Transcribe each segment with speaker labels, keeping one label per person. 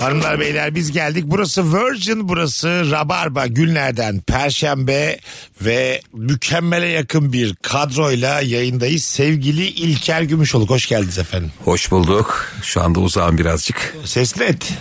Speaker 1: Hanımlar beyler biz geldik. Burası Virgin, burası Rabarba. Günlerden Perşembe ve mükemmele yakın bir kadroyla yayındayız. Sevgili İlker Gümüşoluk hoş geldiniz efendim.
Speaker 2: Hoş bulduk. Şu anda uzağım birazcık.
Speaker 1: Sesli et.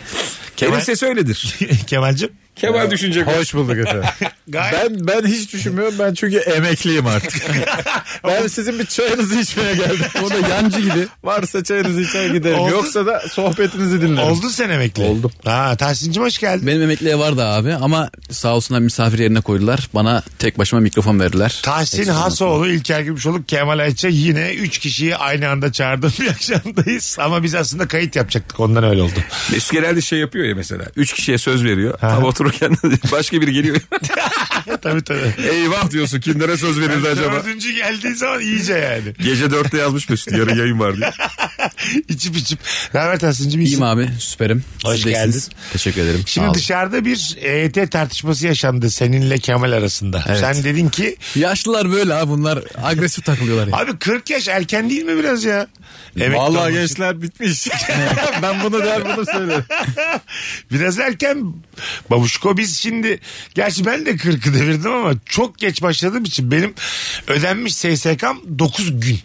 Speaker 2: Benim ses öyledir.
Speaker 1: Kemal'cim.
Speaker 2: Kemal düşünecek.
Speaker 3: Hoş bulduk efendim.
Speaker 1: Gayet
Speaker 3: ben ben hiç düşünmüyorum. Ben çünkü emekliyim artık. ben sizin bir çayınızı içmeye geldim. O da yancı gibi. Varsa çayınızı içer giderim.
Speaker 1: Oldu.
Speaker 3: Yoksa da sohbetinizi dinlerim.
Speaker 1: oldun sen emekli. Oldum. Ha Tahsin'cim hoş geldin.
Speaker 4: Benim emekliye vardı abi ama sağ olsunlar misafir yerine koydular. Bana tek başıma mikrofon verdiler.
Speaker 1: Tahsin
Speaker 4: Eksik
Speaker 1: Hasoğlu, İlker Gümüşoluk, Kemal Ayça yine 3 kişiyi aynı anda çağırdığım bir akşamdayız. Ama biz aslında kayıt yapacaktık ondan öyle oldu.
Speaker 2: Mesut genelde şey yapıyor ya mesela. Üç kişiye söz veriyor. Tam otururken başka biri geliyor.
Speaker 1: tabii tabii.
Speaker 2: Eyvah diyorsun kimlere söz verildi acaba?
Speaker 1: Dördüncü geldiği zaman iyice yani.
Speaker 2: Gece dörtte yazmış Mesut. Yarın yayın var diye.
Speaker 1: İçip içip. Ne haber Tahsin'cim? iyisin?
Speaker 4: İyiyim abi süperim.
Speaker 1: Hoş
Speaker 4: Siz de iyisiniz.
Speaker 1: geldin.
Speaker 4: Teşekkür ederim.
Speaker 1: Şimdi
Speaker 4: Sağ olun.
Speaker 1: dışarıda bir EYT tartışması yaşandı seninle Kemal arasında. Sen dedin ki
Speaker 4: Yaşlılar böyle abi bunlar agresif takılıyorlar ya.
Speaker 1: abi 40 yaş erken değil mi biraz ya? Emekli olmak
Speaker 3: Vallahi
Speaker 1: için.
Speaker 3: gençler bitmiş. ben bunu der bunu söylerim.
Speaker 1: Biraz erken babuşko biz şimdi gerçi ben de 40'ı devirdim ama çok geç başladığım için benim ödenmiş SSK'm 9 gün.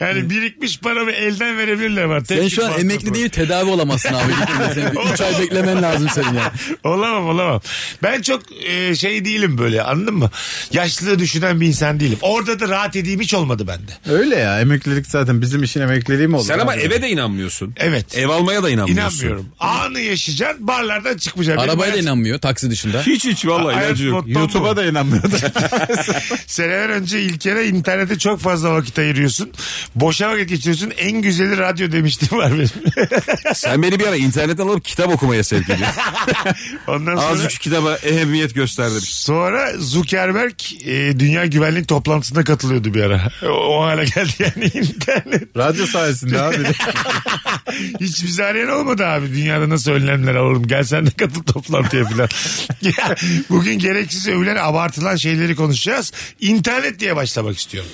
Speaker 1: yani birikmiş paramı elden verebilirler ama.
Speaker 4: Sen şu an emekli değil tedavi olamazsın abi. 3 ay beklemen lazım senin ya.
Speaker 1: Olamam olamam. Ben çok e, şey değilim böyle anladın mı? Yaşlılığı düşünen bir insan değilim. Orada da rahat edeyim hiç olmadı bende.
Speaker 3: Öyle ya emeklilik zaten bizim işin emekliliği mi olur?
Speaker 2: Sen ama
Speaker 3: Abi?
Speaker 2: eve de inanmıyorsun.
Speaker 1: Evet.
Speaker 2: Ev almaya da inanmıyorsun.
Speaker 1: İnanmıyorum. Anı yaşayacaksın barlardan çıkmayacaksın. Benim
Speaker 4: Arabaya da
Speaker 1: hayat-
Speaker 4: inanmıyor taksi dışında.
Speaker 2: Hiç hiç vallahi
Speaker 1: Hayat
Speaker 2: ilacı yok.
Speaker 1: mottom bu.
Speaker 3: YouTube'a da inanmıyordum.
Speaker 1: Seneler önce İlker'e internete çok fazla vakit ayırıyorsun. Boşa vakit geçiriyorsun. En güzeli radyo demiştim var benim.
Speaker 2: Sen beni bir ara internetten alıp kitap okumaya sevk ediyorsun.
Speaker 1: Ondan sonra...
Speaker 2: Azıcık kitaba ehemmiyet göster demiş.
Speaker 1: Sonra Zuckerberg e, Dünya Güvenlik Toplantısına katılıyordu bir ara. O, o hale geldi yani internet.
Speaker 3: Radyo sayesinde abi.
Speaker 1: Hiç bizi arayan olmadı abi. Dünyada nasıl önlemler alalım? Gel sen de katıl toplantıya falan. Ya, Bugün gereksiz övülen abartılan şeyleri konuşacağız. İnternet diye başlamak istiyorum.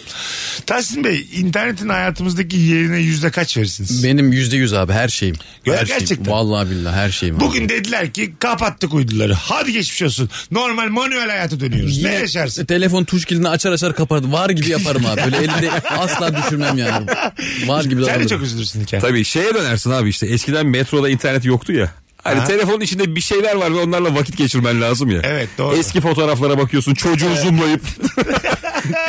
Speaker 1: Tahsin Bey internetin hayatımızdaki yerine yüzde kaç verirsiniz?
Speaker 4: Benim yüzde yüz abi her şeyim.
Speaker 1: Ya
Speaker 4: her
Speaker 1: gerçekten.
Speaker 4: Şeyim. Vallahi billahi her şeyim. abi.
Speaker 1: Bugün dediler ki kapattık uyduları. Hadi geçmiş olsun. Normal manuel hayata dönüyoruz. Ne
Speaker 4: Yine
Speaker 1: yaşarsın?
Speaker 4: Telefon tuş kilidini açar açar kapardı. Var gibi yaparım abi. Böyle elinde asla düşürmem yani. Var gibi
Speaker 1: Sen de
Speaker 4: davranırım.
Speaker 1: çok üzülürsün hikaye.
Speaker 2: Tabii şeye dönersin abi işte. Eskiden metroda internet yoktu ya. Hani telefonun içinde bir şeyler var ve onlarla vakit geçirmen lazım ya.
Speaker 1: Evet, doğru.
Speaker 2: Eski fotoğraflara bakıyorsun çocuğu zoomlayıp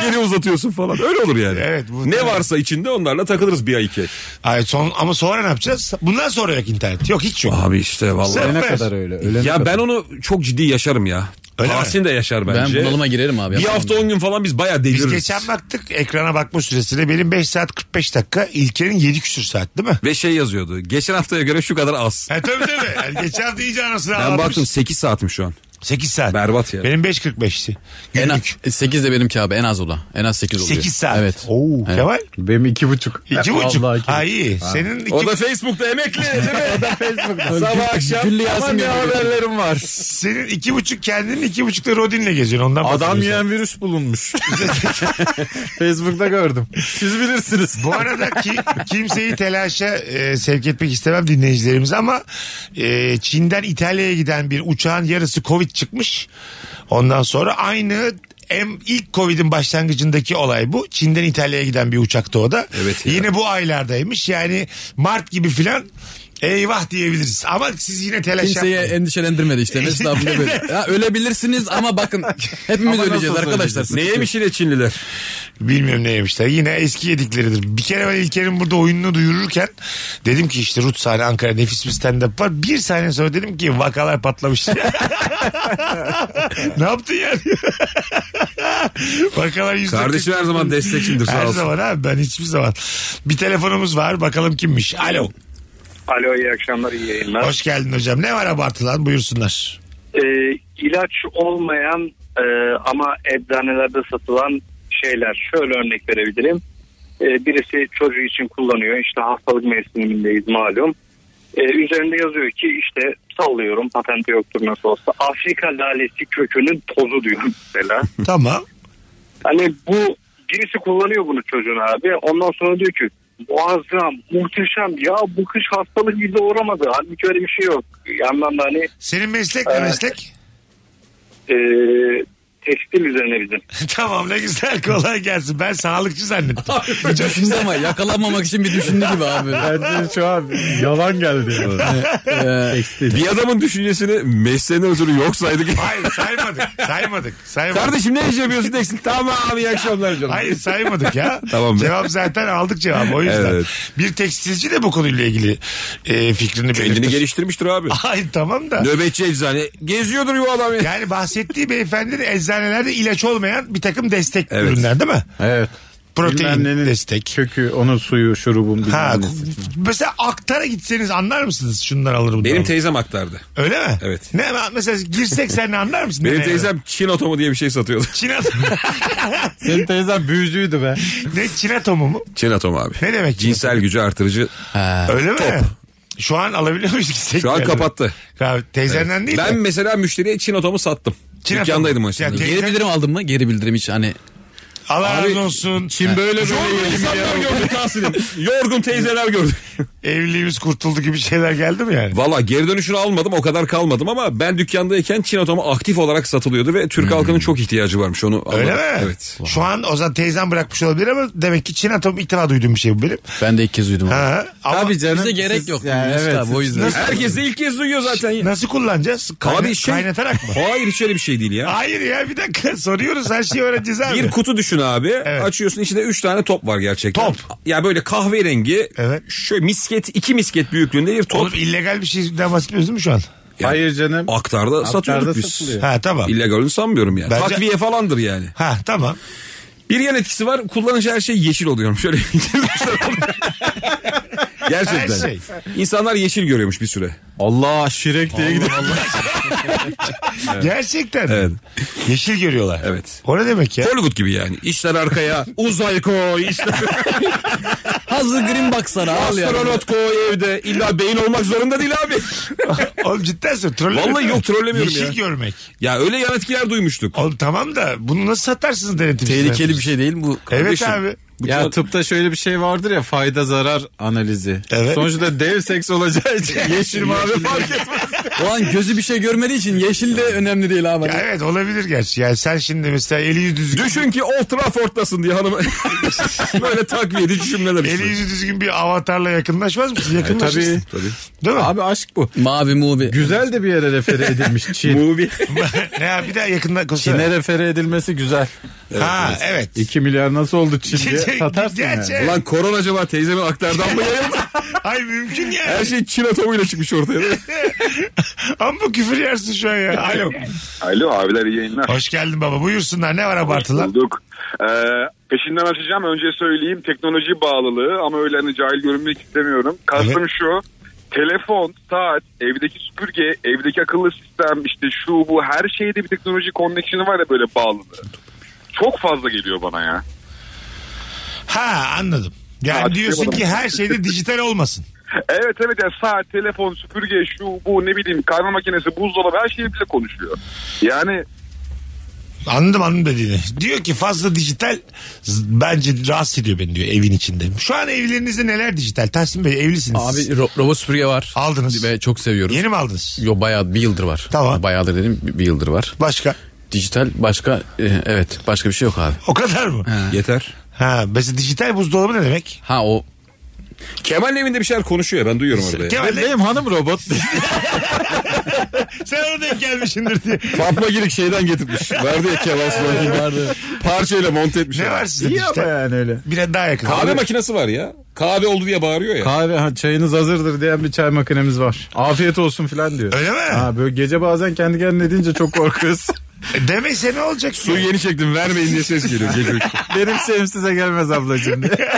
Speaker 2: geri uzatıyorsun falan. Öyle olur yani.
Speaker 1: Evet, bu-
Speaker 2: ne varsa içinde onlarla takılırız bir ay iki. ay.
Speaker 1: Ay, son, ama sonra ne yapacağız? Bundan sonra yok internet. Yok hiç yok.
Speaker 2: Abi işte vallahi.
Speaker 1: Sen-
Speaker 3: ne
Speaker 1: Süper.
Speaker 3: kadar öyle. Ölene
Speaker 2: Ya
Speaker 3: kadar.
Speaker 2: ben onu çok ciddi yaşarım ya.
Speaker 1: Öyle mi?
Speaker 2: Tahsin de yaşar
Speaker 4: Ben
Speaker 2: bence.
Speaker 4: bunalıma girerim abi.
Speaker 2: bir
Speaker 4: yapamam.
Speaker 2: hafta on gün falan biz bayağı
Speaker 1: Biz
Speaker 2: deliririz.
Speaker 1: geçen baktık ekrana bakma süresine benim 5 saat 45 dakika İlker'in 7 küsür saat değil mi?
Speaker 2: Ve şey yazıyordu. Geçen haftaya göre şu kadar az.
Speaker 1: Ha, E, tabii tabii. Yani geçen hafta iyice anasını
Speaker 2: Ben baktım 8 saatim şu an.
Speaker 1: 8 saat.
Speaker 2: Berbat ya.
Speaker 1: Benim 5.45'ti.
Speaker 4: En az,
Speaker 1: Günlük.
Speaker 4: 8 de benimki abi en az ola. En az 8 oluyor.
Speaker 1: 8 saat.
Speaker 4: Evet.
Speaker 1: Oo, Kemal.
Speaker 3: Benim iki buçuk.
Speaker 1: İki
Speaker 3: Vallahi
Speaker 1: buçuk.
Speaker 3: iki
Speaker 1: Ha iyi. Senin iki
Speaker 2: O da Facebook'ta emekli. değil mi?
Speaker 3: Facebook'ta.
Speaker 2: Sabah akşam.
Speaker 4: Güllü Yasin
Speaker 2: Aman ne
Speaker 4: geliyor.
Speaker 2: haberlerim var.
Speaker 1: senin iki buçuk kendin iki buçukta Rodin'le geziyorsun. Ondan
Speaker 3: Adam
Speaker 1: bahsediyorsun.
Speaker 3: yiyen virüs bulunmuş. Facebook'ta gördüm. Siz bilirsiniz.
Speaker 1: Bu arada ki, kimseyi telaşa e, sevk etmek istemem dinleyicilerimiz ama e, Çin'den İtalya'ya giden bir uçağın yarısı Covid çıkmış. Ondan sonra aynı em, ilk Covid'in başlangıcındaki olay bu. Çin'den İtalya'ya giden bir uçakta o da.
Speaker 2: Evet ya.
Speaker 1: Yine bu aylardaymış. Yani Mart gibi filan eyvah diyebiliriz. Ama siz yine telaş
Speaker 4: Kimseye
Speaker 1: yapmayın.
Speaker 4: endişelendirmedi işte. Mesut abi de böyle. Ya ölebilirsiniz ama bakın hepimiz
Speaker 3: Ama nasıl
Speaker 4: öleceğiz arkadaşlar.
Speaker 3: söyleyeceğiz?
Speaker 4: Neye
Speaker 2: Neymiş yine Çinliler?
Speaker 1: Bilmiyorum ne yemişler. Yine eski yedikleridir. Bir kere ben İlker'in burada oyununu duyururken dedim ki işte Rut sahne Ankara nefis bir stand-up var. Bir saniye sonra dedim ki vakalar patlamış. ne yaptın yani? vakalar yüzde
Speaker 2: Kardeşim her zaman destekçimdir sağ
Speaker 1: Her
Speaker 2: olsun.
Speaker 1: zaman abi ben hiçbir zaman. Bir telefonumuz var bakalım kimmiş. Alo.
Speaker 5: Alo iyi akşamlar iyi yayınlar.
Speaker 1: Hoş geldin hocam. Ne var abartılan buyursunlar.
Speaker 5: Ee, ilaç olmayan e, ama eczanelerde satılan şeyler şöyle örnek verebilirim. e, birisi çocuğu için kullanıyor. İşte hastalık mevsimindeyiz malum. E, üzerinde yazıyor ki işte sallıyorum patenti yoktur nasıl olsa. Afrika lalesi kökünün tozu diyor mesela.
Speaker 1: Tamam.
Speaker 5: Hani bu birisi kullanıyor bunu çocuğun abi. Ondan sonra diyor ki muazzam, muhteşem ya bu kış hastalık bizi uğramadı. Halbuki öyle bir şey yok. Yandan da hani
Speaker 1: Senin meslek ne
Speaker 5: Evet.
Speaker 1: meslek?
Speaker 5: e, tekstil üzerine bizim.
Speaker 1: tamam ne güzel kolay gelsin. Ben sağlıkçı zannettim.
Speaker 4: Düşündü ama yakalanmamak için bir düşündü gibi abi.
Speaker 3: Bence şu an yalan geldi.
Speaker 4: Ee,
Speaker 2: Bir adamın düşüncesini mesleğine özürü yok saydık.
Speaker 1: Hayır saymadık. Saymadık. Saymadık.
Speaker 2: Kardeşim ne iş yapıyorsun eksin? Tamam iyi akşamlar canım.
Speaker 1: Hayır saymadık ya.
Speaker 2: Tamam.
Speaker 1: Cevap zaten aldık cevabı o yüzden.
Speaker 2: Evet.
Speaker 1: Bir tekstilci de bu konuyla ilgili e, fikrini
Speaker 2: Kendini
Speaker 1: belirtir.
Speaker 2: geliştirmiştir abi.
Speaker 1: Hayır tamam da.
Speaker 2: Nöbetçi eczane. Geziyordur bu adam ya.
Speaker 1: Yani bahsettiği beyefendi de eczanelerde ilaç olmayan bir takım destek
Speaker 2: Evet.
Speaker 1: ürünler değil mi?
Speaker 3: Evet.
Speaker 1: Protein
Speaker 3: Bilmem nenin
Speaker 1: destek.
Speaker 3: Kökü, onun suyu, şurubun
Speaker 1: Ha,
Speaker 3: bilmem nesi.
Speaker 1: ku- mesela aktara gitseniz anlar mısınız? Şundan alırım.
Speaker 2: Benim
Speaker 1: bundan
Speaker 2: teyzem aktardı.
Speaker 1: alırım. Öyle mi?
Speaker 2: Evet.
Speaker 1: Ne mesela girsek sen ne anlar mısın?
Speaker 2: Benim
Speaker 1: Ne-
Speaker 2: teyzem Çin otomu diye bir şey satıyordu.
Speaker 1: Çin
Speaker 3: Senin teyzen büyücüydü be.
Speaker 1: ne Çin atomu mu?
Speaker 2: Çin atomu abi.
Speaker 1: Ne demek Çin
Speaker 2: Cinsel gücü artırıcı.
Speaker 1: Öyle mi? Şu an alabiliyor muyuz gitsek?
Speaker 2: Şu an
Speaker 1: yani?
Speaker 2: kapattı.
Speaker 1: Ya, teyzenden değil
Speaker 2: Ben
Speaker 1: de.
Speaker 2: mesela müşteriye Çin atomu sattım.
Speaker 1: Çin atomu.
Speaker 2: Dükkandaydım o
Speaker 1: Ya
Speaker 2: esnada.
Speaker 1: teyze-
Speaker 4: geri bildirim aldın mı? Geri bildirim hiç hani.
Speaker 1: Allah
Speaker 2: Abi,
Speaker 1: razı olsun.
Speaker 3: Çin böyle
Speaker 2: Yorgun
Speaker 3: böyle
Speaker 2: insanlar gördük Tahsin'im. Yorgun teyzeler gördük.
Speaker 1: Evliliğimiz kurtuldu gibi şeyler geldi mi yani?
Speaker 2: Valla geri dönüşünü almadım o kadar kalmadım ama ben dükkandayken Çin atomu aktif olarak satılıyordu ve Türk halkının çok ihtiyacı varmış onu.
Speaker 1: Hmm. Öyle
Speaker 2: anladım.
Speaker 1: mi?
Speaker 2: Evet.
Speaker 1: Şu an Ozan teyzem bırakmış olabilir ama demek ki Çin atomu ilk defa duyduğum bir şey bu benim.
Speaker 4: Ben de ilk kez duydum. abi.
Speaker 1: Ha, ama
Speaker 3: Tabii canım.
Speaker 4: Bize gerek
Speaker 3: siz-
Speaker 4: yok.
Speaker 3: Yani
Speaker 4: Mesut
Speaker 3: evet.
Speaker 4: abi, o yüzden.
Speaker 2: Herkes de ilk kez duyuyor zaten. ya.
Speaker 1: nasıl kullanacağız? Kayna-
Speaker 2: Abi şey-
Speaker 1: Kaynatarak mı?
Speaker 2: Hayır hiç öyle bir şey değil ya.
Speaker 1: Hayır ya bir dakika soruyoruz her şeyi öğreneceğiz abi.
Speaker 2: Bir kutu düşün abi.
Speaker 1: Evet.
Speaker 2: Açıyorsun içinde 3 tane top var gerçekten.
Speaker 1: Top.
Speaker 2: Ya böyle kahverengi.
Speaker 1: Evet.
Speaker 2: Şöyle misket, iki misket büyüklüğünde bir top.
Speaker 1: Oğlum illegal bir şeyden bahsetmiyoruz değil mi şu an?
Speaker 3: Hayır canım.
Speaker 2: Aktarda, satıyorduk biz.
Speaker 3: satılıyor.
Speaker 1: Ha tamam.
Speaker 2: İllegalini sanmıyorum yani.
Speaker 1: Bence-
Speaker 2: Takviye falandır yani.
Speaker 1: Ha tamam.
Speaker 2: Bir yan etkisi var. Kullanıcı her şey yeşil oluyormuş. Şöyle Gerçekten.
Speaker 1: Her şey.
Speaker 2: İnsanlar yeşil görüyormuş bir süre.
Speaker 3: Allah şirek diye gidiyor.
Speaker 1: Gerçekten.
Speaker 2: Evet.
Speaker 1: Yeşil görüyorlar.
Speaker 2: Evet.
Speaker 1: O ne demek ya?
Speaker 2: Hollywood gibi yani. İşler arkaya. Uzay koy. Işte.
Speaker 4: Hazır green baksana al ya.
Speaker 2: Astronot koy evde. İlla beyin olmak zorunda değil abi.
Speaker 1: Oğlum cidden sen trollemiyorum.
Speaker 2: Vallahi yok, trollemiyorum
Speaker 1: Yeşil
Speaker 2: ya.
Speaker 1: görmek.
Speaker 2: ya öyle yan etkiler duymuştuk.
Speaker 1: Oğlum tamam da bunu nasıl satarsınız denetim
Speaker 4: Tehlikeli
Speaker 1: sistemimiz?
Speaker 4: bir şey değil mi bu.
Speaker 1: Evet
Speaker 2: Kardeşim.
Speaker 1: abi.
Speaker 3: Ya tıpta şöyle bir şey vardır ya fayda zarar analizi.
Speaker 1: Evet.
Speaker 3: Sonuçta dev seks olacağı için yeşil mavi fark etmez.
Speaker 4: O an gözü bir şey görmediği için yeşil de önemli değil abi.
Speaker 1: Ya evet olabilir gerçi. Yani sen şimdi mesela eli yüzü düzgün.
Speaker 2: Düşün ki Old Trafford'dasın diye hanım. Böyle takviye edici cümleler
Speaker 1: Eli
Speaker 2: işte.
Speaker 1: yüzü düzgün bir avatarla yakınlaşmaz mısın? Yakınlaşırsın.
Speaker 3: tabii.
Speaker 1: Değil mi?
Speaker 3: Abi aşk bu.
Speaker 4: Mavi mubi.
Speaker 3: Güzel de bir yere refere edilmiş Çin.
Speaker 2: Movie.
Speaker 1: ne ya bir daha yakından konuşsana.
Speaker 3: Çin'e refere edilmesi güzel.
Speaker 1: Ha evet.
Speaker 3: 2 milyar nasıl oldu Çin diye satarsın
Speaker 1: Gerçi.
Speaker 3: yani.
Speaker 2: Ulan korona acaba teyzemin aktardan mı yayıldı?
Speaker 1: Ay mümkün ya.
Speaker 2: Her şey Çin atomuyla çıkmış ortaya. değil mi?
Speaker 1: Ama bu küfür yersin şu an ya. Alo.
Speaker 6: Alo abiler iyi yayınlar.
Speaker 1: Hoş geldin baba. Buyursunlar. Ne var abartılan?
Speaker 6: Bulduk. Ee, peşinden açacağım. Önce söyleyeyim teknoloji bağlılığı ama öyle hani cahil görünmek istemiyorum. Kastım şu. Telefon, saat, evdeki süpürge, evdeki akıllı sistem işte şu bu her şeyde bir teknoloji connection'ı var ya böyle bağlılığı. Çok fazla geliyor bana ya.
Speaker 1: Ha anladım. Yani
Speaker 6: Ha,
Speaker 1: diyorsun ki
Speaker 6: açıklayamadım.
Speaker 1: her şeyde dijital olmasın.
Speaker 6: Evet evet yani saat, telefon, süpürge şu bu ne bileyim kahve makinesi, buzdolabı her şeyi bile konuşuyor. Yani
Speaker 1: Anladım anladım dediğini. Diyor ki fazla dijital z- bence rahatsız ediyor beni diyor evin içinde. Şu an evlerinizde neler dijital? Tahsin Bey evlisiniz.
Speaker 4: Abi
Speaker 1: siz.
Speaker 4: ro- robot süpürge var.
Speaker 1: Aldınız.
Speaker 4: Ve çok seviyoruz.
Speaker 1: Yeni mi aldınız?
Speaker 4: Yo bayağı bir yıldır var.
Speaker 1: Tamam.
Speaker 4: Bayağıdır dedim bir bir yıldır var.
Speaker 1: Başka?
Speaker 4: Dijital başka e, evet başka bir şey yok abi.
Speaker 1: O kadar mı?
Speaker 2: Yeter.
Speaker 1: Ha, mesela dijital buzdolabı ne demek?
Speaker 4: Ha o
Speaker 2: Kemal'in evinde bir şeyler konuşuyor ya ben duyuyorum orada. ya.
Speaker 1: Kemal
Speaker 3: Benim hanım robot.
Speaker 1: sen orada hep gelmişsindir diye.
Speaker 2: Fatma Girik şeyden getirmiş. Verdi ya Kemal Sunal'ın. Parçayla monte etmiş.
Speaker 1: Ne
Speaker 2: ya.
Speaker 1: var sizde
Speaker 3: İyi ama
Speaker 1: dijital?
Speaker 3: yani öyle.
Speaker 1: Biraz daha yakın.
Speaker 2: Kahve
Speaker 1: Abi-
Speaker 2: makinesi var ya. Kahve oldu diye bağırıyor ya.
Speaker 3: Kahve ha, çayınız hazırdır diyen bir çay makinemiz var. Afiyet olsun filan diyor.
Speaker 1: Öyle mi?
Speaker 3: Ha, böyle gece bazen kendi kendine deyince çok korkuyorsun.
Speaker 1: E, Demese ne olacak?
Speaker 4: Su
Speaker 1: ki?
Speaker 4: yeni çektim vermeyin diye ses geliyor. Gece
Speaker 3: Benim şeyim size gelmez ablacığım diye.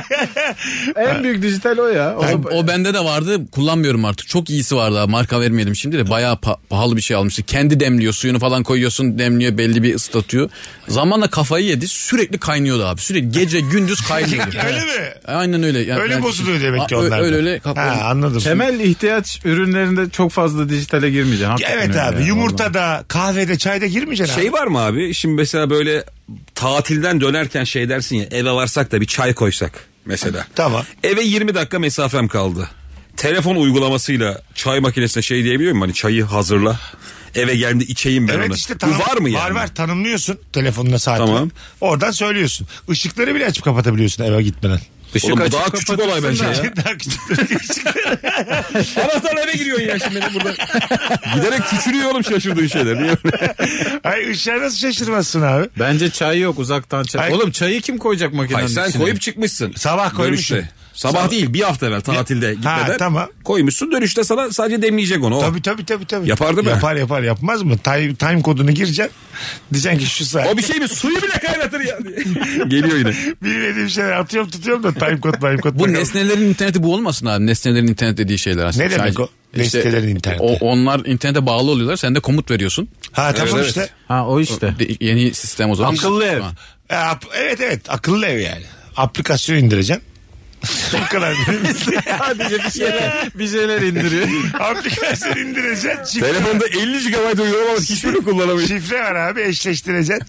Speaker 3: en büyük dijital o ya. O,
Speaker 7: O, o bende de vardı kullanmıyorum artık. Çok iyisi vardı abi. marka vermeyelim şimdi de bayağı pa- pahalı bir şey almıştı. Kendi demliyor suyunu falan koyuyorsun demliyor belli bir ıslatıyor. Zamanla kafayı yedi sürekli kaynıyordu abi. Sürekli gece gündüz kaynıyordu.
Speaker 1: Öyle mi?
Speaker 7: Aynen öyle. Yani
Speaker 1: Öyle
Speaker 7: ben-
Speaker 1: bozuluyor demek ki
Speaker 7: Aa, ö-
Speaker 1: onlar. da.
Speaker 7: Öyle öyle. kap-
Speaker 1: Ha, anladım.
Speaker 3: temel ihtiyaç ürünlerinde çok fazla dijitale girmeyeceksin. Hakikaten
Speaker 1: Evet
Speaker 3: öyle
Speaker 1: abi
Speaker 3: ya,
Speaker 1: yumurtada, kahvede, çayda girmeyeceksin abi.
Speaker 4: Şey var mı abi? Şimdi mesela böyle tatilden dönerken şey dersin ya eve varsak da bir çay koysak mesela.
Speaker 1: Tamam.
Speaker 4: Eve 20 dakika mesafem kaldı. Telefon uygulamasıyla çay makinesine şey diyebiliyor muyum? Hani çayı hazırla. Eve geldi içeyim ben
Speaker 1: Evet
Speaker 4: onu.
Speaker 1: işte
Speaker 4: Bu var mı yani?
Speaker 1: Var var tanımlıyorsun telefonuna saati.
Speaker 4: Tamam.
Speaker 1: Oradan söylüyorsun. Işıkları bile açıp kapatabiliyorsun eve gitmeden.
Speaker 4: Oğlum bu daha küçük olay bence ya.
Speaker 1: Daha küçük-
Speaker 4: Anahtar eve giriyorsun ya şimdi benim burada. Giderek küçülüyor oğlum şaşırdığın şeyler. Niye öyle?
Speaker 1: Ay ışığa nasıl şaşırmazsın abi?
Speaker 3: Bence çay yok uzaktan çay.
Speaker 1: Ay-
Speaker 3: Oğlum çayı kim koyacak makinenin
Speaker 4: Hayır sen
Speaker 3: içine?
Speaker 4: koyup çıkmışsın.
Speaker 1: Sabah koymuşsun.
Speaker 4: Dönüşte. Sabah, değil bir hafta evvel tatilde gitmeden.
Speaker 1: tamam.
Speaker 4: Koymuşsun dönüşte sana sadece demleyecek onu. O.
Speaker 1: Tabii tabii tabii. tabii.
Speaker 4: Yapardı mı?
Speaker 1: Yapar yapar yapmaz mı? Time, time kodunu gireceksin. Diyeceksin ki şu saat.
Speaker 4: O bir şey mi? Suyu bile kaynatır ya. Geliyor yine.
Speaker 1: Bilmediğim şeyler atıyorum tutuyorum da time kod time kod.
Speaker 7: Bu
Speaker 1: bakalım.
Speaker 7: nesnelerin interneti bu olmasın abi. Nesnelerin internet dediği şeyler aslında.
Speaker 1: Ne demek
Speaker 7: Sadece-
Speaker 1: o? Nesnelerin interneti.
Speaker 7: O, onlar internete bağlı oluyorlar. Sen de komut veriyorsun.
Speaker 1: Ha tamam
Speaker 4: Evet,
Speaker 1: işte.
Speaker 4: evet.
Speaker 3: Ha o işte.
Speaker 7: De- yeni sistem o zaman.
Speaker 3: Akıllı ev.
Speaker 7: Ha.
Speaker 1: E, ap- evet evet akıllı ev yani. Aplikasyon indireceksin. Bu kadar.
Speaker 3: Sadece bir şeyler, bir şeyler indiriyor.
Speaker 1: Aplikasyon indireceksin. Şifre,
Speaker 4: Telefonda 50 GB uygulama var. Hiçbirini kullanamıyor.
Speaker 1: şifre var abi eşleştireceksin.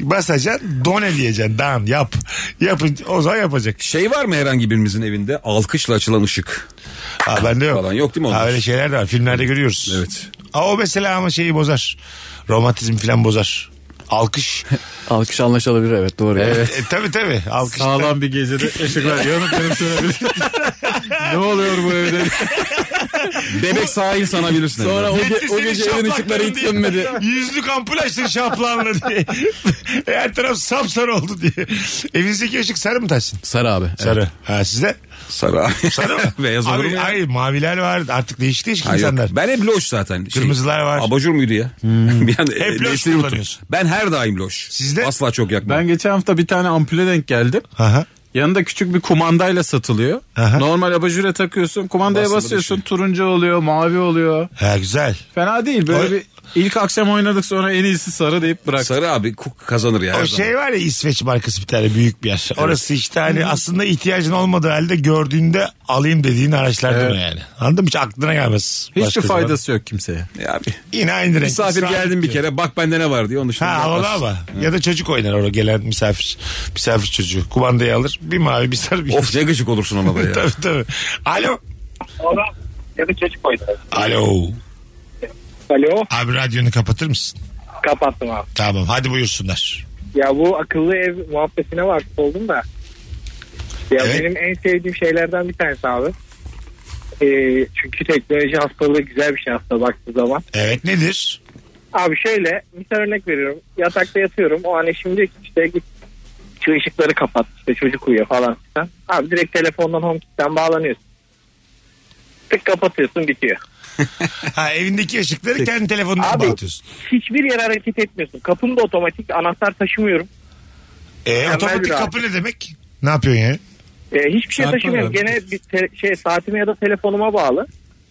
Speaker 1: Basacaksın done diyeceksin. Dan yap. Yapın, o zaman yapacak.
Speaker 4: Şey var mı herhangi birimizin evinde? Alkışla açılan ışık.
Speaker 1: Ha, bende yok.
Speaker 4: Falan yok değil mi onlar?
Speaker 1: Ha, öyle şeyler de var. Filmlerde görüyoruz.
Speaker 4: Evet.
Speaker 1: Ha, o mesela ama şeyi bozar. Romantizm falan bozar. Alkış.
Speaker 7: Alkış anlaşılabilir evet doğru.
Speaker 1: Evet. E, tabii tabii. Alkış.
Speaker 3: Sağlam bir gecede ışıklar yanıp yanıp sönebilir. ne oluyor bu evde?
Speaker 4: Bebek sahil sanabilirsin.
Speaker 7: Sonra o,
Speaker 1: Yetti
Speaker 7: ge- o
Speaker 1: senin
Speaker 7: gece evin ışıkları
Speaker 1: şaplakların
Speaker 7: hiç
Speaker 1: diye.
Speaker 7: sönmedi.
Speaker 1: Yüzlük ampul açtın şaplağınla diye. E, Her taraf sapsarı oldu diye. Evinizdeki ışık sarı mı taşsın?
Speaker 7: Sarı abi. evet.
Speaker 1: Sarı. Ha sizde?
Speaker 4: Sarı abi.
Speaker 1: Sarı mı?
Speaker 4: Beyaz olur mu
Speaker 1: Abi,
Speaker 4: ya?
Speaker 1: ay, maviler var artık değişik değişik
Speaker 4: Ha, yok.
Speaker 1: insanlar.
Speaker 4: Ben hep loş zaten. Şey,
Speaker 1: Kırmızılar var. Hmm.
Speaker 4: Abajur muydu ya? Bir an, e,
Speaker 1: loş
Speaker 4: nesneyi unuttum.
Speaker 1: kullanıyorsun.
Speaker 4: Ben her daim loş.
Speaker 1: Sizde?
Speaker 4: Asla çok yakmam.
Speaker 3: Ben geçen hafta bir tane ampule denk geldim.
Speaker 1: Aha.
Speaker 3: Yanında küçük bir kumandayla satılıyor.
Speaker 1: Aha.
Speaker 3: Normal abajure takıyorsun. Kumandaya
Speaker 4: Basılı
Speaker 3: basıyorsun. Turuncu oluyor, mavi oluyor.
Speaker 1: Ha güzel.
Speaker 3: Fena değil. Böyle
Speaker 1: O-
Speaker 3: bir ilk akşam oynadık sonra en iyisi sarı deyip bıraktık.
Speaker 4: Sarı abi ku- kazanır ya. her
Speaker 1: O
Speaker 4: zaman.
Speaker 1: şey var ya İsveç markası bir tane büyük bir yer. Orası işte hani aslında ihtiyacın olmadığı halde gördüğünde alayım dediğin araçlardan
Speaker 3: Evet.
Speaker 1: o yani. Anladın mı? Hiç aklına gelmez.
Speaker 3: Hiçbir
Speaker 1: Başka zaman.
Speaker 3: faydası yok kimseye.
Speaker 4: Ya abi.
Speaker 1: Yine aynı renk.
Speaker 4: Misafir
Speaker 1: Israf
Speaker 4: geldim bir
Speaker 1: ediyor.
Speaker 4: kere bak bende ne var diyor. Onun dışında
Speaker 1: Ha
Speaker 4: yapmaz.
Speaker 1: havalı ama. Ya da çocuk oynar orada gelen misafir. Misafir çocuğu. Kumandayı alır. Bir mavi bir sarı bir.
Speaker 4: Of ne gıcık olursun ona da ya.
Speaker 1: tabii tabii. Alo.
Speaker 8: Ona ya da çocuk koydu.
Speaker 1: Alo.
Speaker 8: Alo.
Speaker 1: Abi radyonu kapatır mısın?
Speaker 8: Kapattım abi.
Speaker 1: Tamam hadi buyursunlar.
Speaker 8: Ya bu akıllı ev muhabbetine vakıf oldum da. Ya
Speaker 1: Evet.
Speaker 8: benim en sevdiğim şeylerden bir tanesi abi. Ee, çünkü teknoloji hastalığı güzel bir şey aslında baktığı zaman.
Speaker 1: Evet nedir?
Speaker 8: Abi şöyle bir tane örnek veriyorum. Yatakta yatıyorum. O an eşim diyor ki işte git şu ışıkları kapat. İşte çocuk uyuyor falan filan. Abi direkt telefondan HomeKit'ten bağlanıyorsun. Tık kapatıyorsun bitiyor.
Speaker 1: Ha evindeki ışıkları kendi telefonundan
Speaker 8: Abi-
Speaker 1: bağlatıyorsun.
Speaker 8: Hiçbir yere hareket etmiyorsun. Kapım da otomatik. Anahtar taşımıyorum.
Speaker 1: E,
Speaker 8: Mükemmel
Speaker 1: otomatik
Speaker 8: bir abi.
Speaker 1: kapı ne demek? Ne yapıyorsun yani?
Speaker 8: Ee, hiçbir şey
Speaker 3: Çarpma
Speaker 8: taşımıyorum.
Speaker 3: vermiş.
Speaker 8: Gene bir te- şey saatime ya da telefonuma bağlı.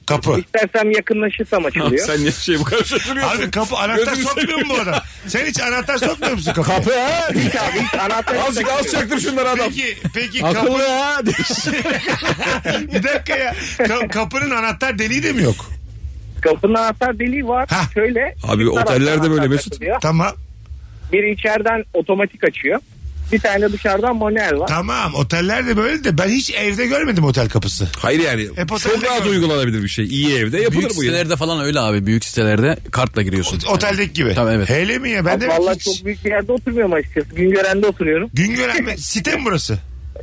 Speaker 1: Kapı.
Speaker 8: İstersem yakınlaşırsam
Speaker 4: Abi
Speaker 8: açılıyor.
Speaker 4: sen niye şey bu kadar şaşırıyorsun?
Speaker 1: Abi kapı anahtar
Speaker 4: Gözünü
Speaker 1: sokmuyor mu bu adam? Sen hiç anahtar sokmuyor musun kapıya?
Speaker 4: Kapı ha.
Speaker 8: Abi hiç anahtar
Speaker 4: Azıcık az çaktım şunları adam.
Speaker 1: Peki, peki kapı...
Speaker 3: Akıllı ha.
Speaker 1: Bir dakika ya. Ka- kapının anahtar deliği de mi yok?
Speaker 8: Kapının anahtar deliği var.
Speaker 1: Hah.
Speaker 8: Şöyle.
Speaker 4: Abi,
Speaker 8: bir taraftan
Speaker 4: otellerde
Speaker 8: anahtar
Speaker 4: böyle Mesut.
Speaker 8: takılıyor.
Speaker 1: Tamam.
Speaker 8: Biri içeriden otomatik açıyor. Bir tane dışarıdan manuel var.
Speaker 1: Tamam. Otellerde böyle de ben hiç evde görmedim otel kapısı.
Speaker 4: Hayır yani
Speaker 1: Hep otelde
Speaker 4: çok rahat
Speaker 1: gördüm.
Speaker 4: uygulanabilir bir şey. İyi evde yapılır
Speaker 7: Büyük
Speaker 4: bu ya.
Speaker 7: sitelerde falan öyle abi. Büyük sitelerde kartla giriyorsun.
Speaker 1: Oteldeki gibi.
Speaker 7: Tabii, evet.
Speaker 1: Hele mi ya? Ben de
Speaker 8: Abi Vallahi
Speaker 1: hiç...
Speaker 8: çok büyük bir yerde oturmuyorum açıkçası. Güngören'de oturuyorum.
Speaker 1: Güngören mi? Site mi burası?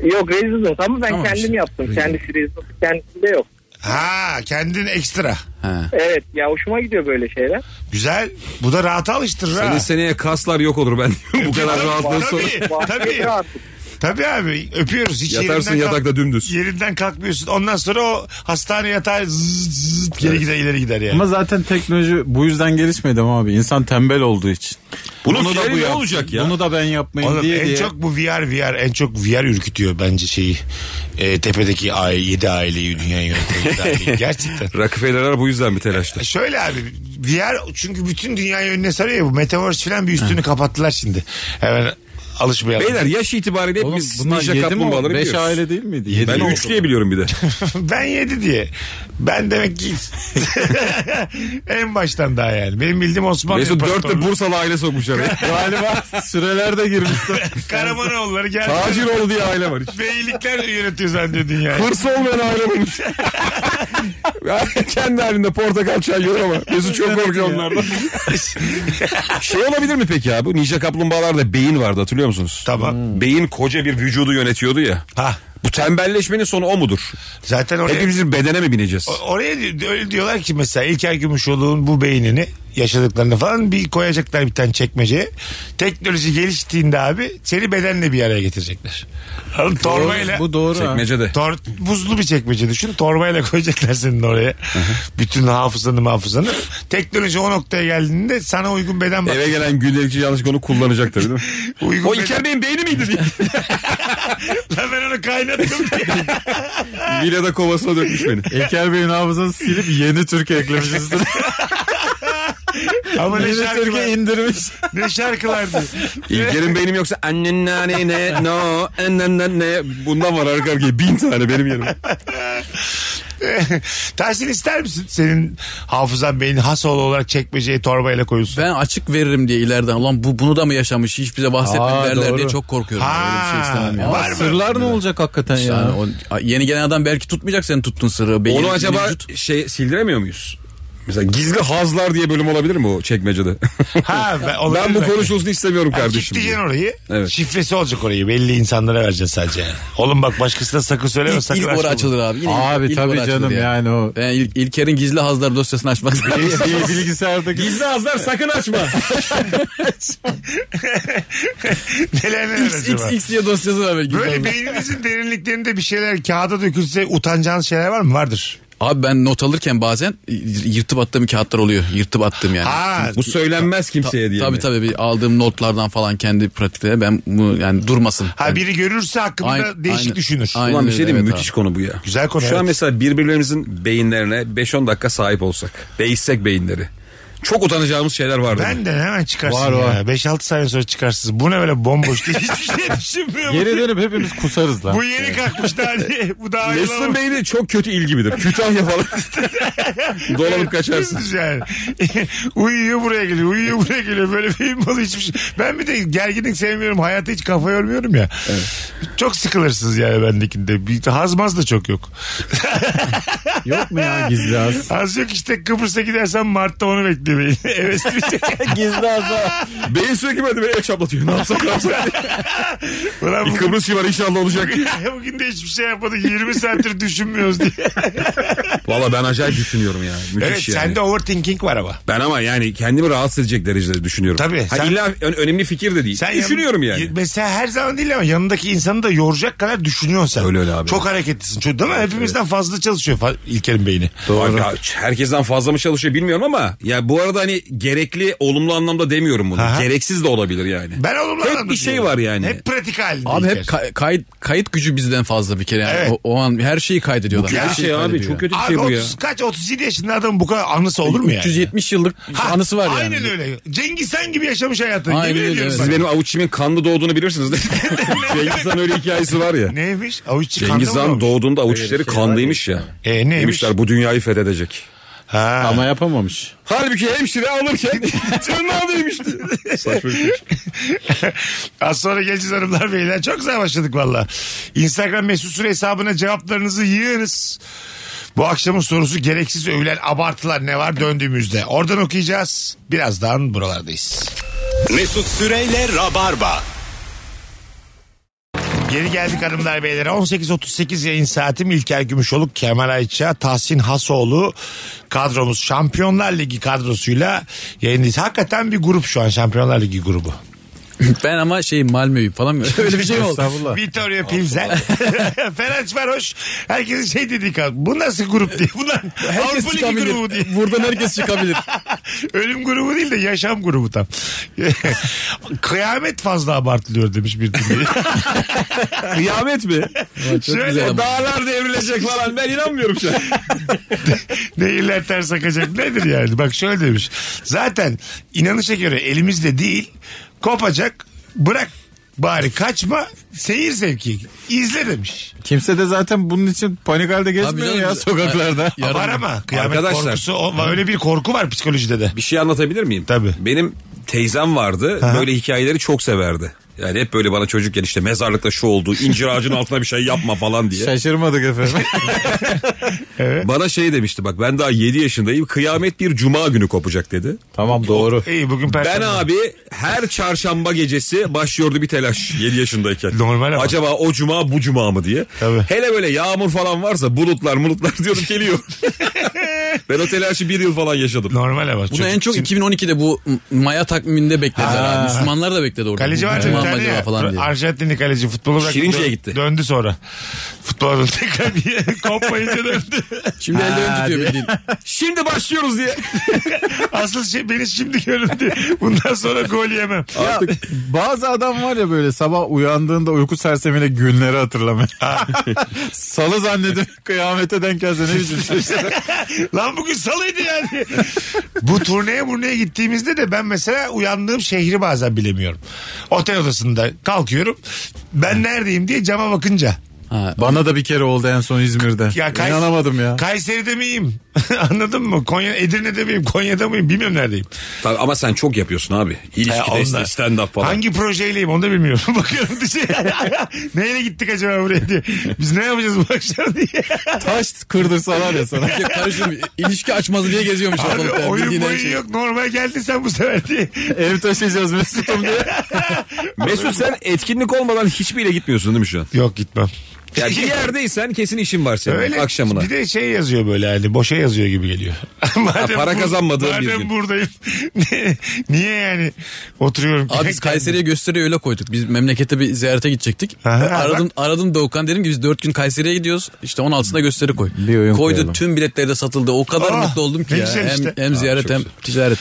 Speaker 8: Yok Residence ama ben
Speaker 7: Tamam
Speaker 8: kendim
Speaker 7: işte.
Speaker 8: yaptım. Kendisi Residence kendisinde yok.
Speaker 1: Ha kendin ekstra.
Speaker 7: Ha.
Speaker 8: Evet ya hoşuma gidiyor böyle şeyler.
Speaker 1: Güzel. Bu da rahata alıştırır
Speaker 4: Senin
Speaker 1: ha.
Speaker 4: seneye kaslar yok olur ben diyorum bu kadar rahatlığın sonra.
Speaker 1: Tabii tabii.
Speaker 8: Rahatlık.
Speaker 1: Tabii abi öpüyoruz. Hiç
Speaker 4: Yatarsın
Speaker 1: yerinden kalk-
Speaker 4: yatakta dümdüz.
Speaker 1: Yerinden kalkmıyorsun. Ondan sonra o hastane yatağı zıt zıt geri gider ileri gider yani.
Speaker 3: Ama zaten teknoloji bu yüzden gelişmedi ama abi. İnsan tembel olduğu için.
Speaker 4: Bunun
Speaker 7: şey
Speaker 4: fiyatı ne
Speaker 3: yapsın,
Speaker 4: olacak ya?
Speaker 3: Bunu da ben yapmayayım
Speaker 1: Oğlum
Speaker 3: diye
Speaker 1: en
Speaker 3: diye.
Speaker 1: çok bu VR VR en çok VR ürkütüyor bence şeyi. E, tepedeki aile, 7 aileyi dünyayı yöneten yedi aileyi. Gerçekten. E,
Speaker 4: Rockefeller'lar bu yüzden bir telaşta.
Speaker 1: Şöyle abi VR çünkü bütün dünyayı önüne sarıyor ya bu Metaverse falan bir üstünü kapattılar şimdi. Hemen alışmayalım.
Speaker 4: Beyler yaş itibariyle
Speaker 3: Oğlum
Speaker 4: hepimiz
Speaker 3: bunlar
Speaker 4: ninja
Speaker 3: yedi mi?
Speaker 4: kaplumbağaları
Speaker 3: Beş
Speaker 4: biliyoruz.
Speaker 3: aile değil miydi? Yedi
Speaker 4: Ben
Speaker 3: mi?
Speaker 4: 3 diye biliyorum bir de.
Speaker 1: ben 7 diye. Ben demek ki en baştan daha yani. Benim bildiğim Osmanlı
Speaker 4: Mesut 4
Speaker 1: İmparatorluğu.
Speaker 4: de Bursalı aile sokmuş araya.
Speaker 3: Galiba süreler de girmişti.
Speaker 1: Karamanoğulları geldi.
Speaker 4: Tacir oldu diye aile var.
Speaker 1: Beylikler yönetiyor zannediyor dünyayı.
Speaker 4: Hırsı olmayan aile bulmuş. Kendi halinde portakal çay yiyor ama Mesut çok korkuyor onlardan. şey olabilir mi peki abi? Ninja kaplumbağalarda beyin vardı hatırlıyor musunuz? Hmm.
Speaker 1: Tamam.
Speaker 4: Beyin koca bir vücudu yönetiyordu ya.
Speaker 1: Ha.
Speaker 4: Bu tembelleşmenin sonu o mudur?
Speaker 1: Zaten oraya...
Speaker 4: Hepimiz bir bedene mi bineceğiz?
Speaker 1: O- Oraya di- öyle diyorlar ki mesela İlker Gümüşoğlu'nun bu beynini yaşadıklarını falan bir koyacaklar bir tane çekmeceye. Teknoloji geliştiğinde abi seni bedenle bir araya getirecekler. Anladın? Torbayla.
Speaker 3: bu doğru. ha.
Speaker 4: Çekmecede.
Speaker 1: Tor, buzlu bir çekmece düşün. Torbayla koyacaklar senin oraya. Bütün hafızanı hafızanı. Teknoloji o noktaya geldiğinde sana uygun beden bak.
Speaker 4: Eve gelen gündelikçi yanlış onu kullanacaktır değil mi?
Speaker 1: Uygun
Speaker 4: o
Speaker 1: beden-
Speaker 4: İlker Bey'in beyni miydi diye.
Speaker 1: Lan ben onu kaynattım diye.
Speaker 4: Vila'da kovasına dökmüş beni.
Speaker 3: İlker Bey'in hafızasını silip yeni Türkiye eklemişizdir.
Speaker 1: Ama ne
Speaker 3: yeni Türkiye
Speaker 1: şarkılar,
Speaker 3: indirmiş.
Speaker 1: ne şarkılardı.
Speaker 4: İlker'in beynim yoksa annen nane ne no annen ne, ne bundan var arka arkaya bin tane benim yerime.
Speaker 1: Tahsin ister misin senin hafızan beynin has oğlu olarak çekmeceye torbayla koyulsun?
Speaker 7: Ben açık veririm diye ileriden. Ulan bu, bunu da mı yaşamış hiç bize bahsetmedi
Speaker 3: Aa,
Speaker 7: derler
Speaker 3: doğru.
Speaker 7: diye çok korkuyorum. Öyle bir şey
Speaker 1: Ha,
Speaker 7: istemem ya.
Speaker 1: var
Speaker 3: Aa,
Speaker 1: mı?
Speaker 3: Sırlar ne olacak hakikaten
Speaker 7: Yani
Speaker 3: ya?
Speaker 7: o- yeni gelen adam belki tutmayacak senin tuttun sırrı. Beyin-
Speaker 4: Onu acaba
Speaker 7: vücut-
Speaker 4: şey sildiremiyor muyuz? Mesela gizli hazlar diye bölüm olabilir mi o çekmecede?
Speaker 1: Ha, ben, olabilir
Speaker 4: ben bu
Speaker 1: belki.
Speaker 4: konuşulsun istemiyorum
Speaker 1: Ha,
Speaker 4: kardeşim.
Speaker 1: Kilitleyeceksin orayı.
Speaker 4: Evet.
Speaker 1: Şifresi olacak orayı. Belli insanlara vereceksin sadece. yani. Oğlum bak başkasına sakın söyleme.
Speaker 7: İlk,
Speaker 1: sakın
Speaker 7: ilk
Speaker 1: açma
Speaker 7: ora
Speaker 1: bunu.
Speaker 7: açılır abi. Yine ilk-
Speaker 3: Abi
Speaker 7: ilk
Speaker 3: tabii
Speaker 7: ora açılır
Speaker 3: canım
Speaker 7: ya.
Speaker 3: yani o.
Speaker 7: Ben İl- İlker'in gizli hazlar dosyasını açmak istiyorum.
Speaker 3: Bir bilgisayardaki
Speaker 4: Gizli hazlar sakın açma.
Speaker 1: Neler neler
Speaker 7: X,
Speaker 1: acaba?
Speaker 7: X, X diye dosyası var. belki.
Speaker 1: Böyle beyninizin derinliklerinde bir şeyler kağıda dökülse utanacağınız şeyler var mı? Vardır.
Speaker 7: Abi ben not alırken bazen yırtıp attığım kağıtlar oluyor. Yırtıp attığım yani.
Speaker 1: Ha,
Speaker 4: bu söylenmez kimseye diye.
Speaker 7: Tabii
Speaker 4: mi?
Speaker 7: tabii bir aldığım notlardan falan kendi pratikte ben bu yani durmasın.
Speaker 1: ha
Speaker 7: Yani
Speaker 1: biri görürse hakkında
Speaker 7: Aynı-
Speaker 1: değişik
Speaker 7: aynı-
Speaker 1: düşünür.
Speaker 7: aynı-
Speaker 4: Ulan bir
Speaker 7: Aynen
Speaker 4: şey
Speaker 7: öyle,
Speaker 4: değil mi?
Speaker 7: evet
Speaker 4: Müthiş konu bu ya.
Speaker 1: Güzel konu,
Speaker 4: Şu
Speaker 1: evet.
Speaker 4: an mesela birbirlerimizin beyinlerine 5-10 dakika sahip olsak. Değişsek beyinleri. Çok utanacağımız şeyler vardı.
Speaker 1: Ben de hemen çıkarsın
Speaker 3: Var, var.
Speaker 1: ya. 5-6 saniye sonra çıkarsınız. Bu ne böyle bomboş diye hiçbir şey düşünmüyorum.
Speaker 3: Geri dönüp hepimiz kusarız lan.
Speaker 1: Bu yeni kalkmış daha diye. Bu daha
Speaker 4: Mesut'un
Speaker 1: ayrılamamış.
Speaker 4: beyni çok kötü ilgi midir? Kütahya falan. Dolanıp kaçarsın.
Speaker 1: Düz yani. uyuyor buraya geliyor. Uyuyor buraya geliyor. Böyle film malı hiçbir şey. Ben bir de gerginlik sevmiyorum. Hayata hiç kafa yormuyorum ya. Çok sıkılırsınız yani bendekinde. Bir, hazmaz da çok yok.
Speaker 3: Yok mu ya gizli az?
Speaker 1: Az yok işte Kıbrıs'a gidersen Mart'ta onu bekliyor beni. Evet.
Speaker 3: gizli az
Speaker 4: Beyin sürekli böyle beni el çaplatıyor. Ne yapsak ne yapsak.
Speaker 1: Ulan
Speaker 4: Bir
Speaker 1: bugün,
Speaker 4: Kıbrıs var inşallah olacak.
Speaker 1: bugün de hiçbir şey yapmadık. 20 saattir düşünmüyoruz diye.
Speaker 4: Valla ben acayip düşünüyorum ya. Müthiş
Speaker 1: Evet
Speaker 4: yani.
Speaker 1: sende overthinking var ama.
Speaker 4: Ben ama yani kendimi rahatsız edecek derecede düşünüyorum.
Speaker 1: Tabii,
Speaker 4: Ha,
Speaker 1: sen-
Speaker 4: illa ö- önemli fikir de değil.
Speaker 1: Sen
Speaker 4: Düşünüyorum
Speaker 1: yan-
Speaker 4: yani.
Speaker 1: Mesela her zaman değil ama yanındaki insanı da yoracak kadar düşünüyorsun sen.
Speaker 4: Öyle öyle abi.
Speaker 1: Çok hareketlisin. Çok, değil mi? Hepimizden fazla çalışıyor fa- İlker'in beyni.
Speaker 4: Abi, ya, herkesten fazla mı çalışıyor bilmiyorum ama ya bu arada hani gerekli olumlu anlamda demiyorum bunu.
Speaker 1: Aha.
Speaker 4: Gereksiz de olabilir yani.
Speaker 1: Ben olumlu
Speaker 4: Hep
Speaker 1: anlamda
Speaker 4: bir şey
Speaker 1: diyorum.
Speaker 4: var yani.
Speaker 1: Hep pratik halinde.
Speaker 7: Abi hep
Speaker 1: İlker.
Speaker 7: ka- kayıt kayıt gücü bizden fazla bir kere yani.
Speaker 1: Evet.
Speaker 7: O, o an her şeyi kaydediyorlar.
Speaker 1: Bu
Speaker 7: Her
Speaker 1: kötü
Speaker 7: şeyi
Speaker 4: şey abi
Speaker 7: kaydediyor.
Speaker 4: çok kötü bir
Speaker 1: Abi
Speaker 4: şey bu ya.
Speaker 1: 30 kaç 37 yaşında adamın bu kadar anısı olur mu yani?
Speaker 7: 370 yıllık
Speaker 1: Ha,
Speaker 7: anısı var yani.
Speaker 1: Aynen öyle. Cengiz Han gibi yaşamış hayatını.
Speaker 7: Aynen
Speaker 1: Yemin
Speaker 7: öyle,
Speaker 1: ediyorum
Speaker 7: evet.
Speaker 4: Siz
Speaker 1: sana.
Speaker 4: benim avuçimin kanlı doğduğunu bilirsiniz değil mi? Cengiz Han öyle hikayesi var ya.
Speaker 1: Neymiş? Avuç
Speaker 4: Cengiz Han doğduğunda avuç içleri kanlıymış ya.
Speaker 1: E, neymiş?
Speaker 4: Demişler bu dünyayı fethedecek.
Speaker 1: Ha.
Speaker 3: Ama yapamamış.
Speaker 4: Halbuki hemşire alırken tırnağındaymış.
Speaker 1: Az sonra geleceğiz hanımlar beyler. Çok güzel başladık valla. Instagram mesut süre hesabına cevaplarınızı yığınız. Bu akşamın sorusu gereksiz övülen abartılar ne var döndüğümüzde. Oradan okuyacağız. Birazdan buralardayız.
Speaker 9: Mesut Süreyle Rabarba.
Speaker 1: Geri geldik hanımlar beyler. 18.38 yayın saatim İlker Gümüşoluk, Kemal Ayça, Tahsin Hasoğlu kadromuz Şampiyonlar Ligi kadrosuyla yayındayız. Hakikaten bir grup şu an Şampiyonlar Ligi grubu.
Speaker 7: Ben ama şey Malmö'yüm falan mı? Öyle bir şey mi oldu?
Speaker 3: Estağfurullah.
Speaker 1: Vittorio Pilsen. Ferenc Varoş. Herkesin şey dediği kaldı. Bu nasıl grup diye. Bunlar
Speaker 7: Herkes
Speaker 1: Avrupa Ligi grubu diye.
Speaker 7: çıkabilir. Buradan herkes çıkabilir.
Speaker 1: Ölüm grubu değil de yaşam grubu tam. Kıyamet fazla abartılıyor demiş bir dinleyici.
Speaker 3: Kıyamet mi?
Speaker 1: Şöyle
Speaker 7: güzel.
Speaker 3: Dağlar devrilecek falan ben inanmıyorum şu an.
Speaker 1: nehirler ters akacak nedir yani? Bak şöyle demiş. Zaten inanışa göre elimizde değil kopacak bırak bari kaçma seyir zevki izle demiş.
Speaker 3: Kimse de zaten bunun için panik halde gezmiyor
Speaker 7: canım,
Speaker 3: ya
Speaker 7: biz-
Speaker 3: sokaklarda.
Speaker 7: Yarın-
Speaker 1: Var ama kıyamet
Speaker 4: Arkadaşlar.
Speaker 1: korkusu o- öyle bir korku var psikolojide de.
Speaker 4: Bir şey anlatabilir miyim?
Speaker 1: Tabii.
Speaker 4: Benim teyzem vardı.
Speaker 1: Aha.
Speaker 4: Böyle hikayeleri çok severdi. Yani hep böyle bana çocukken işte mezarlıkta şu oldu, incir ağacının altına bir şey yapma falan diye.
Speaker 3: Şaşırmadık efendim.
Speaker 4: Bana şey demişti bak ben daha 7 yaşındayım kıyamet bir cuma günü kopacak dedi.
Speaker 3: tamam doğru.
Speaker 1: İyi bugün perşembe.
Speaker 4: Ben abi her çarşamba gecesi başlıyordu bir telaş 7 yaşındayken.
Speaker 1: Normal ama.
Speaker 4: Acaba o cuma bu cuma mı diye.
Speaker 1: Tabii.
Speaker 4: Hele böyle yağmur falan varsa bulutlar mulutlar diyorum geliyor. ben o telaşı bir yıl falan yaşadım.
Speaker 1: Normal ama.
Speaker 7: Bunu en çok 2012'de bu Maya takviminde beklediler. abi. Müslümanlar da bekledi orada.
Speaker 1: Kaleci vardı bir
Speaker 7: Müslüman
Speaker 1: tane
Speaker 7: mı
Speaker 1: ya.
Speaker 7: acaba falan diye.
Speaker 1: Arjantinli kaleci futbolu bıraktı.
Speaker 4: Şirince'ye
Speaker 1: dö-
Speaker 4: gitti.
Speaker 1: Döndü sonra. Futbola döndü. tekrar bir kopmayınca döndü.
Speaker 7: Şimdi ellerini tutuyor bildiğin.
Speaker 4: Şimdi başlıyoruz diye.
Speaker 1: Asıl şey beni şimdi göründü. Bundan sonra gol yemem.
Speaker 3: Artık bazı adam var ya böyle sabah uyandığında uyku sersemiyle günleri hatırlamıyor. Salı zannedip kıyamete denk gelse ne biçim şey.
Speaker 1: Lan bugün salıydı yani. Bu turneye burneye gittiğimizde de ben mesela uyandığım şehri bazen bilemiyorum. Otel odasında kalkıyorum. Ben neredeyim diye cama bakınca.
Speaker 3: Bana da bir kere oldu en son İzmir'de.
Speaker 1: Kays-
Speaker 3: İnanamadım ya.
Speaker 1: Kayseri'de miyim? Anladın mı? Konya, Edirne'de miyim? Konya'da mıyım? Bilmiyorum neredeyim.
Speaker 4: Tabii ama sen çok yapıyorsun abi.
Speaker 1: Ha,
Speaker 4: İlişkide
Speaker 1: onlar.
Speaker 4: işte stand up falan.
Speaker 1: Hangi projeyleyim onu da bilmiyorum. Bakıyorum dışarı. Neyle gittik acaba buraya diye. Biz ne yapacağız bu akşam diye.
Speaker 3: Taş kırdırsalar ya sana.
Speaker 7: Ya karışım ilişki açmazı diye geziyormuş
Speaker 1: Abi
Speaker 7: ortalıkta.
Speaker 1: oyun
Speaker 7: Bildiğin her
Speaker 1: boyun
Speaker 7: şey.
Speaker 1: yok. Normal geldin sen bu sefer diye.
Speaker 3: Ev taşıyacağız Mesut'um diye.
Speaker 4: Mesut sen etkinlik olmadan hiçbir yere gitmiyorsun değil mi şu an?
Speaker 1: Yok gitmem.
Speaker 4: Ya bir yerdeysen kesin işin var senin
Speaker 1: Öyle.
Speaker 4: akşamına.
Speaker 1: Bir de şey yazıyor böyle hani boşa yazıyor gibi geliyor. madem
Speaker 4: para kazanmadığın bir
Speaker 1: madem
Speaker 4: gün.
Speaker 1: buradayım. Niye yani oturuyorum.
Speaker 7: Abi biz Kayseri'ye gösteriye öyle koyduk. Biz memlekete bir ziyarete gidecektik.
Speaker 1: Aha,
Speaker 7: aradım aradım Doğukan dedim ki biz 4 gün Kayseri'ye gidiyoruz. İşte 16'sında gösteri koy.
Speaker 3: Bir oyun
Speaker 7: Koydu
Speaker 3: koyalım.
Speaker 7: tüm biletler de satıldı. O kadar
Speaker 1: Ah,
Speaker 7: mutlu oldum ki
Speaker 1: ne
Speaker 7: ya.
Speaker 1: güzel
Speaker 7: Hem,
Speaker 1: işte.
Speaker 7: hem ziyaret hem ticaret.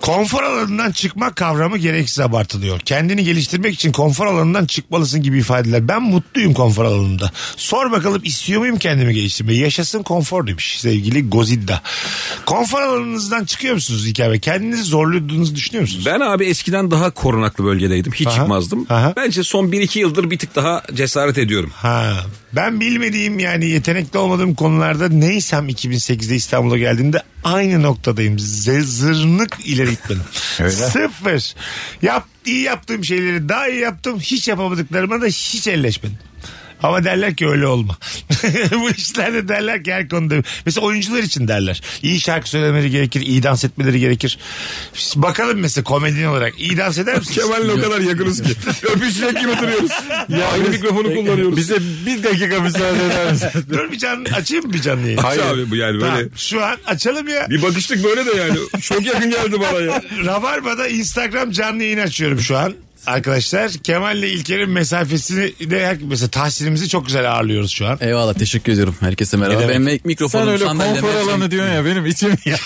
Speaker 1: Konfor alanından çıkma kavramı gereksiz abartılıyor. Kendini geliştirmek için konfor alanından çıkmalısın gibi ifadeler. Ben mutluyum konfor alanımda. Sor bakalım istiyor muyum kendimi geliştirmeyi? Yaşasın konfor demiş sevgili Gozidda. Konfor alanınızdan çıkıyor musunuz hikaye? Kendinizi zorladığınızı düşünüyor musunuz?
Speaker 4: Ben abi eskiden daha korunaklı bölgedeydim. Hiç
Speaker 1: Aha,
Speaker 4: çıkmazdım.
Speaker 1: aha.
Speaker 4: Bence son 1-2 yıldır bir tık daha cesaret ediyorum.
Speaker 1: Ha, ben bilmediğim yani yetenekli olmadığım konularda neysem 2008'de İstanbul'a geldiğimde aynı noktadayım. Z- Zırnık ileri gitmedim. Sıfır. Yap, iyi yaptığım şeyleri daha iyi yaptım. Hiç yapamadıklarıma da hiç elleşmedim. Ama derler ki öyle olma. Bu işlerde derler ki her konuda. Mesela oyuncular için derler. İyi şarkı söylemeleri gerekir, iyi dans etmeleri gerekir. Bakalım mesela komedyen olarak iyi dans eder misiniz?
Speaker 4: Kemal'le o kadar yakınız ki. Öpüşecek gibi duruyoruz. Ya Aynı mikrofonu kullanıyoruz.
Speaker 3: Bize bir dakika müsaade eder misin?
Speaker 1: Dur bir canlı, açayım mı bir canlı yayın?
Speaker 4: Hayır. Abi, bu yani böyle.
Speaker 1: Tamam, şu an açalım ya.
Speaker 4: Bir bakıştık böyle de yani. Çok yakın geldi bana ya.
Speaker 1: Rabarba'da Instagram canlı yayın açıyorum şu an. Arkadaşlar Kemal ile İlker'in mesafesini de her- mesela tahsilimizi çok güzel ağırlıyoruz şu an.
Speaker 7: Eyvallah teşekkür ediyorum. Herkese merhaba.
Speaker 1: demek?
Speaker 7: Benim mi- mikrofonum
Speaker 3: Sen öyle
Speaker 7: sandalyem,
Speaker 3: konfor
Speaker 7: her şey-
Speaker 3: alanı diyorsun ya benim içim ya.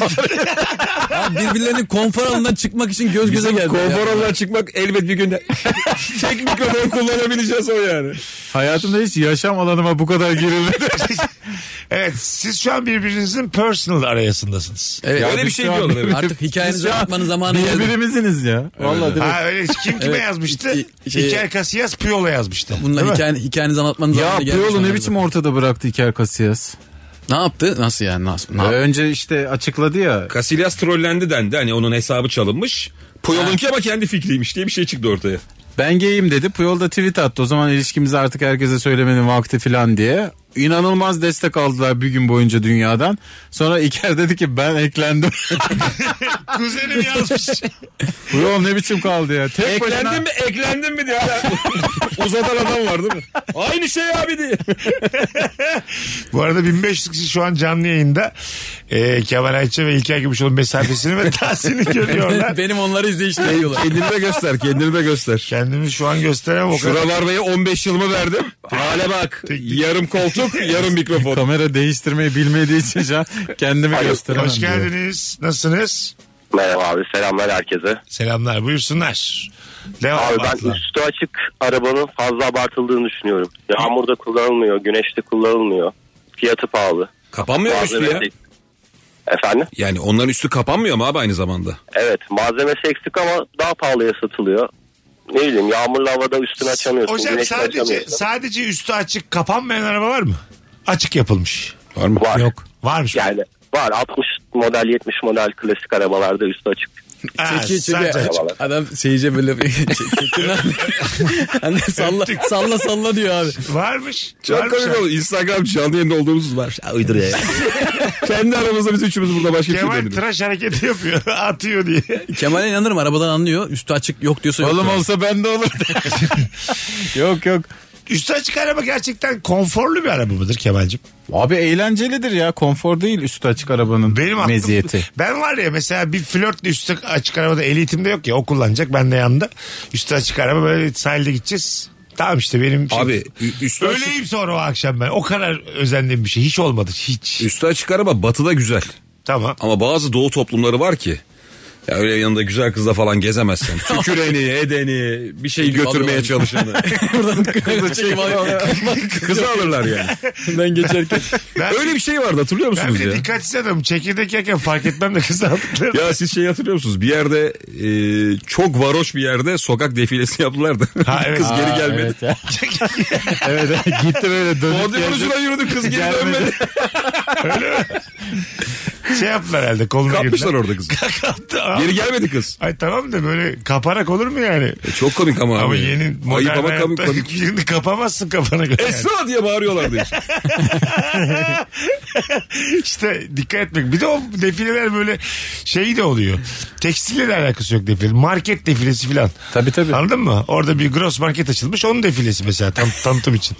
Speaker 7: Abi birbirlerinin konfor alanından çıkmak için göz göze geldi.
Speaker 4: Konfor
Speaker 7: ya.
Speaker 4: alanına çıkmak elbet bir günde. Tek mikrofon kullanabileceğiz o yani.
Speaker 3: Hayatımda hiç yaşam alanıma bu kadar girilmedi.
Speaker 1: Evet siz şu an birbirinizin personal arayasındasınız.
Speaker 7: Evet.
Speaker 4: Öyle bir şey
Speaker 3: şu an-
Speaker 4: diyorlar. evet.
Speaker 7: Artık hikayenizi anlatmanın zamanı geldi.
Speaker 3: Birbirimiziniz ya. Vallahi direkt.
Speaker 1: Ha öyle kim kime
Speaker 7: Evet.
Speaker 1: yazmıştı?
Speaker 7: İ- şey-
Speaker 1: İlker Kasiyas Piyola yazmıştı. Değil
Speaker 7: Bununla
Speaker 1: mi?
Speaker 7: hikayen, hikayenizi anlatmanın
Speaker 3: Ya
Speaker 7: zamanı geldi.
Speaker 3: Piyolu ne biçim ortada bıraktı İker Kasiyas.
Speaker 7: Ne yaptı? Nasıl yani? Nasıl? Ne yaptı?
Speaker 3: Önce işte açıkladı ya.
Speaker 4: Casillas trollendi dendi. Hani onun hesabı çalınmış. Puyol'unki ama kendi fikriymiş diye bir şey çıktı ortaya.
Speaker 3: Ben geyim dedi. Puyol da tweet attı. O zaman ilişkimizi artık herkese söylemenin vakti falan diye. inanılmaz destek aldılar bir gün boyunca dünyadan. Sonra İker dedi ki ben eklendim.
Speaker 1: Kuzenim yazmış.
Speaker 3: Bu yol ne biçim kaldı ya. Tek başına
Speaker 4: Eklendin mi eklendin mi diyor. Uzatan adam var değil mi? Aynı şey abi diye.
Speaker 1: Bu arada 1500 kişi şu an canlı yayında. Ee, Kemal Ayça ve İlker Gümüşoğlu mesafesini ve tahsini görüyorlar.
Speaker 7: Benim onları izleyişte diyorlar.
Speaker 4: Kendini de göster kendini de göster.
Speaker 1: Kendimi şu an gösteremem o kadar.
Speaker 4: Şuralarmaya 15 yılımı verdim. Hale bak. Yarım koltuk, yarım mikrofon.
Speaker 3: kamera değiştirmeyi bilmediği için şu an kendimi gösteremem.
Speaker 1: Hoş
Speaker 3: diyor.
Speaker 1: geldiniz. Nasılsınız?
Speaker 5: Merhaba abi selamlar herkese.
Speaker 1: Selamlar. Buyursunlar. Devam
Speaker 5: Abi ben
Speaker 1: Aslan.
Speaker 5: üstü açık arabanın fazla abartıldığını düşünüyorum. Yağmurda kullanılmıyor, güneşte kullanılmıyor. Fiyatı pahalı.
Speaker 4: Kapanmıyor mu üstü ya?
Speaker 5: Malzemesi- Efendim?
Speaker 4: Yani onların üstü kapanmıyor mu abi aynı zamanda?
Speaker 5: Evet malzemesi eksik ama daha pahalıya satılıyor. Ne bileyim yağmurlu havada üstünü açamıyorsun.
Speaker 1: Hocam
Speaker 5: güneşte
Speaker 1: sadece,
Speaker 5: açamıyorsun.
Speaker 1: sadece üstü açık kapanmayan araba var mı? Açık yapılmış.
Speaker 4: Var mı?
Speaker 5: Var.
Speaker 1: Yok. Varmış.
Speaker 5: Yani var 60 model 70 model klasik arabalarda üstü açık.
Speaker 1: Ha,
Speaker 7: Çeki çeki.
Speaker 1: sadece açık.
Speaker 5: Eyvallah.
Speaker 7: Adam şeyce böyle bir çekin abi.
Speaker 4: Hani
Speaker 7: Anne salla, salla salla diyor abi.
Speaker 1: Varmış.
Speaker 4: Çok
Speaker 1: varmış
Speaker 4: komik
Speaker 1: abi.
Speaker 4: oldu. Instagram canlı yayında olduğumuz var. Uydur ya. Kendi aramızda biz üçümüz burada başka bir şey
Speaker 1: Kemal
Speaker 4: demiyoruz.
Speaker 1: tıraş hareketi yapıyor. Atıyor diye.
Speaker 7: Kemal'e inanırım arabadan anlıyor. Üstü açık yok diyorsa yok.
Speaker 3: Oğlum
Speaker 7: diyor.
Speaker 3: olsa ben de olur. yok yok.
Speaker 1: Üstü açık araba gerçekten konforlu bir araba mıdır Kemal'cim?
Speaker 3: Abi eğlencelidir ya. Konfor değil üstü açık arabanın
Speaker 1: Benim aklım,
Speaker 3: meziyeti.
Speaker 1: Ben var ya mesela bir flörtle üstü açık arabada elitimde yok ya o kullanacak ben de yanında. Üstü açık araba böyle sahilde gideceğiz. Tamam işte benim şey-
Speaker 4: Abi ü- üstü açık,
Speaker 1: Öyleyim sonra o akşam ben. O kadar özendiğim bir şey. Hiç olmadı. Hiç.
Speaker 4: üstü açık araba batıda güzel.
Speaker 1: Tamam.
Speaker 4: Ama bazı doğu toplumları var ki. Ya öyle yanında güzel kızla falan gezemezsin. Tüküreni, edeni, bir şey götürmeye
Speaker 7: Alıyorlar.
Speaker 4: çalışanı.
Speaker 7: Buradan kızı çekip
Speaker 4: Kızı alırlar yani.
Speaker 7: Ben geçerken.
Speaker 1: Ben,
Speaker 4: Öyle bir şey vardı hatırlıyor
Speaker 1: ben
Speaker 4: musunuz
Speaker 1: bir de
Speaker 4: ya?
Speaker 1: dikkatsiz adamım. Çekirdek yerken fark etmem de kız aldıkları.
Speaker 4: Ya siz şey hatırlıyor musunuz? Bir yerde e, çok varoş bir yerde sokak defilesi yaptılar da.
Speaker 1: Ha, evet.
Speaker 4: Kız geri
Speaker 3: Aa,
Speaker 4: gelmedi.
Speaker 3: Evet, ya. evet, evet. gitti böyle dönüp
Speaker 4: Bodrum
Speaker 3: geldi.
Speaker 4: ucuna yürüdü kız geri
Speaker 3: Gelmedi.
Speaker 4: dönmedi.
Speaker 1: Şey yaptılar herhalde koluna
Speaker 4: Kapmışlar
Speaker 1: girdiler.
Speaker 4: orada kızı.
Speaker 1: Kaptı. Aa.
Speaker 4: Geri gelmedi kız.
Speaker 1: Ay tamam da böyle kaparak olur mu yani?
Speaker 4: E, çok komik ama.
Speaker 1: Ama
Speaker 4: abi.
Speaker 1: yeni modern
Speaker 4: Ayıp ama komik
Speaker 1: hayatta
Speaker 4: komik. E,
Speaker 1: birini kapamazsın kafana göre. yani.
Speaker 4: Esra diye bağırıyorlardı işte.
Speaker 1: İşte dikkat etmek. Bir de o defileler böyle şey de oluyor. Tekstille de alakası yok defile. Market defilesi filan.
Speaker 3: Tabii, tabii.
Speaker 1: Anladın mı? Orada bir gross market açılmış. Onun defilesi mesela tam, tanıtım için.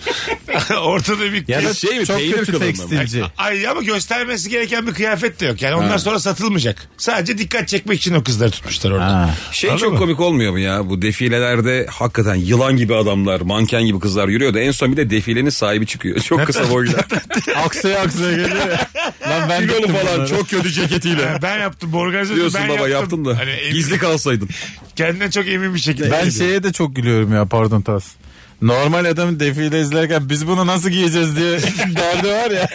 Speaker 1: Ortada bir...
Speaker 3: Ya da
Speaker 4: Şey mi,
Speaker 3: çok
Speaker 4: peynir
Speaker 3: kötü
Speaker 4: kılığında mı?
Speaker 3: tekstilci.
Speaker 1: Ay ama göstermesi gereken bir kıyafet de yok. Yani ondan sonra satılmayacak. Sadece dikkat çekmek için o kızları tutmuşlar orada.
Speaker 3: Ha.
Speaker 4: Şey
Speaker 1: Anladın
Speaker 4: çok
Speaker 1: mı?
Speaker 4: komik olmuyor mu ya? Bu defilelerde hakikaten yılan gibi adamlar, manken gibi kızlar yürüyor da en son bir de defilenin sahibi çıkıyor. Çok kısa boyla.
Speaker 3: aksaya aksaya geliyor. ya. Lan ben
Speaker 4: Kilolu
Speaker 3: gittim
Speaker 4: falan
Speaker 3: bunlara.
Speaker 4: çok kötü ceketiyle.
Speaker 1: Ha, Ben yaptım bu organizasyonu
Speaker 4: Diyorsun
Speaker 1: ben
Speaker 4: baba
Speaker 1: yaptım.
Speaker 4: yaptın da.
Speaker 1: Hani emin-
Speaker 4: Gizli kalsaydın.
Speaker 1: Kendine çok emin bir şekilde.
Speaker 3: Ben şey-
Speaker 1: geliyor.
Speaker 3: şeye de çok gülüyorum ya pardon Tas. Normal adamın defile izlerken biz bunu nasıl giyeceğiz diye derdi var ya.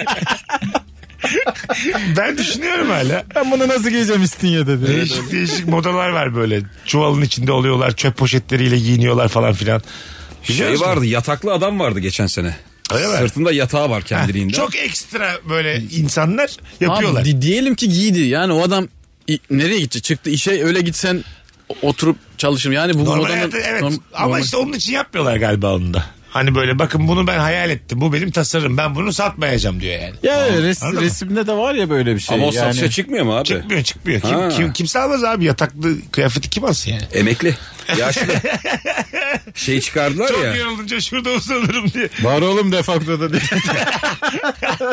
Speaker 1: Ben düşünüyorum hala.
Speaker 3: Ben bunu nasıl giyeceğim İstinye'de diye.
Speaker 1: Değişik değişik modalar var böyle. Çuvalın içinde oluyorlar. Çöp poşetleriyle giyiniyorlar falan filan. Biliyor
Speaker 4: Şey
Speaker 1: musun?
Speaker 4: vardı yataklı adam vardı geçen sene.
Speaker 1: Öyle mi?
Speaker 4: Sırtında yatağı var kendiliğinden.
Speaker 1: Çok ekstra böyle insanlar yapıyorlar.
Speaker 7: Abi, di- diyelim ki giydi. Yani o adam i- nereye gitti? Çıktı işe öyle gitsen o- oturup çalışır. Yani bu
Speaker 1: normal
Speaker 7: modanın-
Speaker 1: hayatta evet.
Speaker 7: norm-
Speaker 1: Ama
Speaker 7: normal-
Speaker 1: işte onun için yapmıyorlar galiba onu da. Hani böyle bakın bunu ben hayal ettim. Bu benim tasarım. Ben bunu satmayacağım diyor yani.
Speaker 3: Ya res-
Speaker 1: anladım.
Speaker 3: resimde de var ya böyle bir şey.
Speaker 4: Ama o
Speaker 3: yani.
Speaker 4: satışa çıkmıyor mu abi?
Speaker 1: Çıkmıyor çıkmıyor. Kim,
Speaker 4: Ha.
Speaker 1: kim, kimse almaz abi yataklı kıyafeti kim alsın yani.
Speaker 4: Emekli. Yaşlı. şey çıkardılar
Speaker 1: Çok
Speaker 4: ya.
Speaker 1: yorulunca şurada uzanırım diye.
Speaker 3: Var oğlum defakto da diye.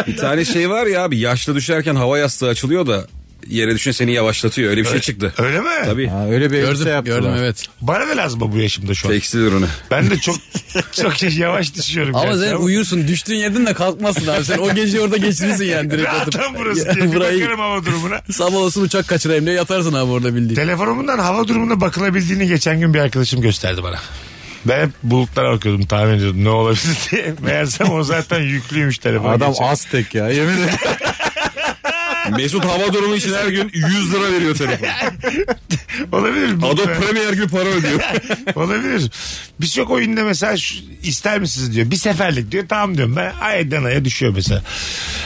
Speaker 4: Bir tane şey var ya abi yaşlı düşerken hava yastığı açılıyor da yere düşün seni yavaşlatıyor. Öyle bir şey çıktı.
Speaker 1: Öyle mi?
Speaker 4: Tabii.
Speaker 3: Ha, öyle bir
Speaker 7: Gördüm,
Speaker 3: elbise yaptılar.
Speaker 7: gördüm evet.
Speaker 1: Bana da lazım bu yaşımda şu an.
Speaker 4: Tekstil ürünü.
Speaker 1: Ben de çok çok yavaş düşüyorum.
Speaker 7: Ama
Speaker 1: gerçi
Speaker 7: sen uyursun düştüğün yerden de kalkmazsın abi. Sen o gece orada geçirirsin yani direkt
Speaker 1: Ya
Speaker 7: yatıp.
Speaker 1: Tam burası diye
Speaker 7: Ya,
Speaker 1: bir
Speaker 7: burayı-
Speaker 1: bakarım hava durumuna.
Speaker 7: Sabah olsun uçak kaçırayım diye yatarsın abi orada bildiğin.
Speaker 1: Telefonumundan hava durumuna bakılabildiğini geçen gün bir arkadaşım gösterdi bana. Ben hep bulutlara bakıyordum tahmin ediyordum ne olabilir diye. Meğersem o zaten yüklüymüş telefonu.
Speaker 3: Adam Aztek ya yemin ederim.
Speaker 4: Mesut hava durumu için her gün 100 lira veriyor telefon.
Speaker 1: Olabilir. mi?
Speaker 4: Adobe Premiere her gün para ödüyor.
Speaker 1: Olabilir. Birçok oyunda mesela şu, ister misiniz diyor. Bir seferlik diyor. Tamam diyorum ben. Aydan aya düşüyor mesela.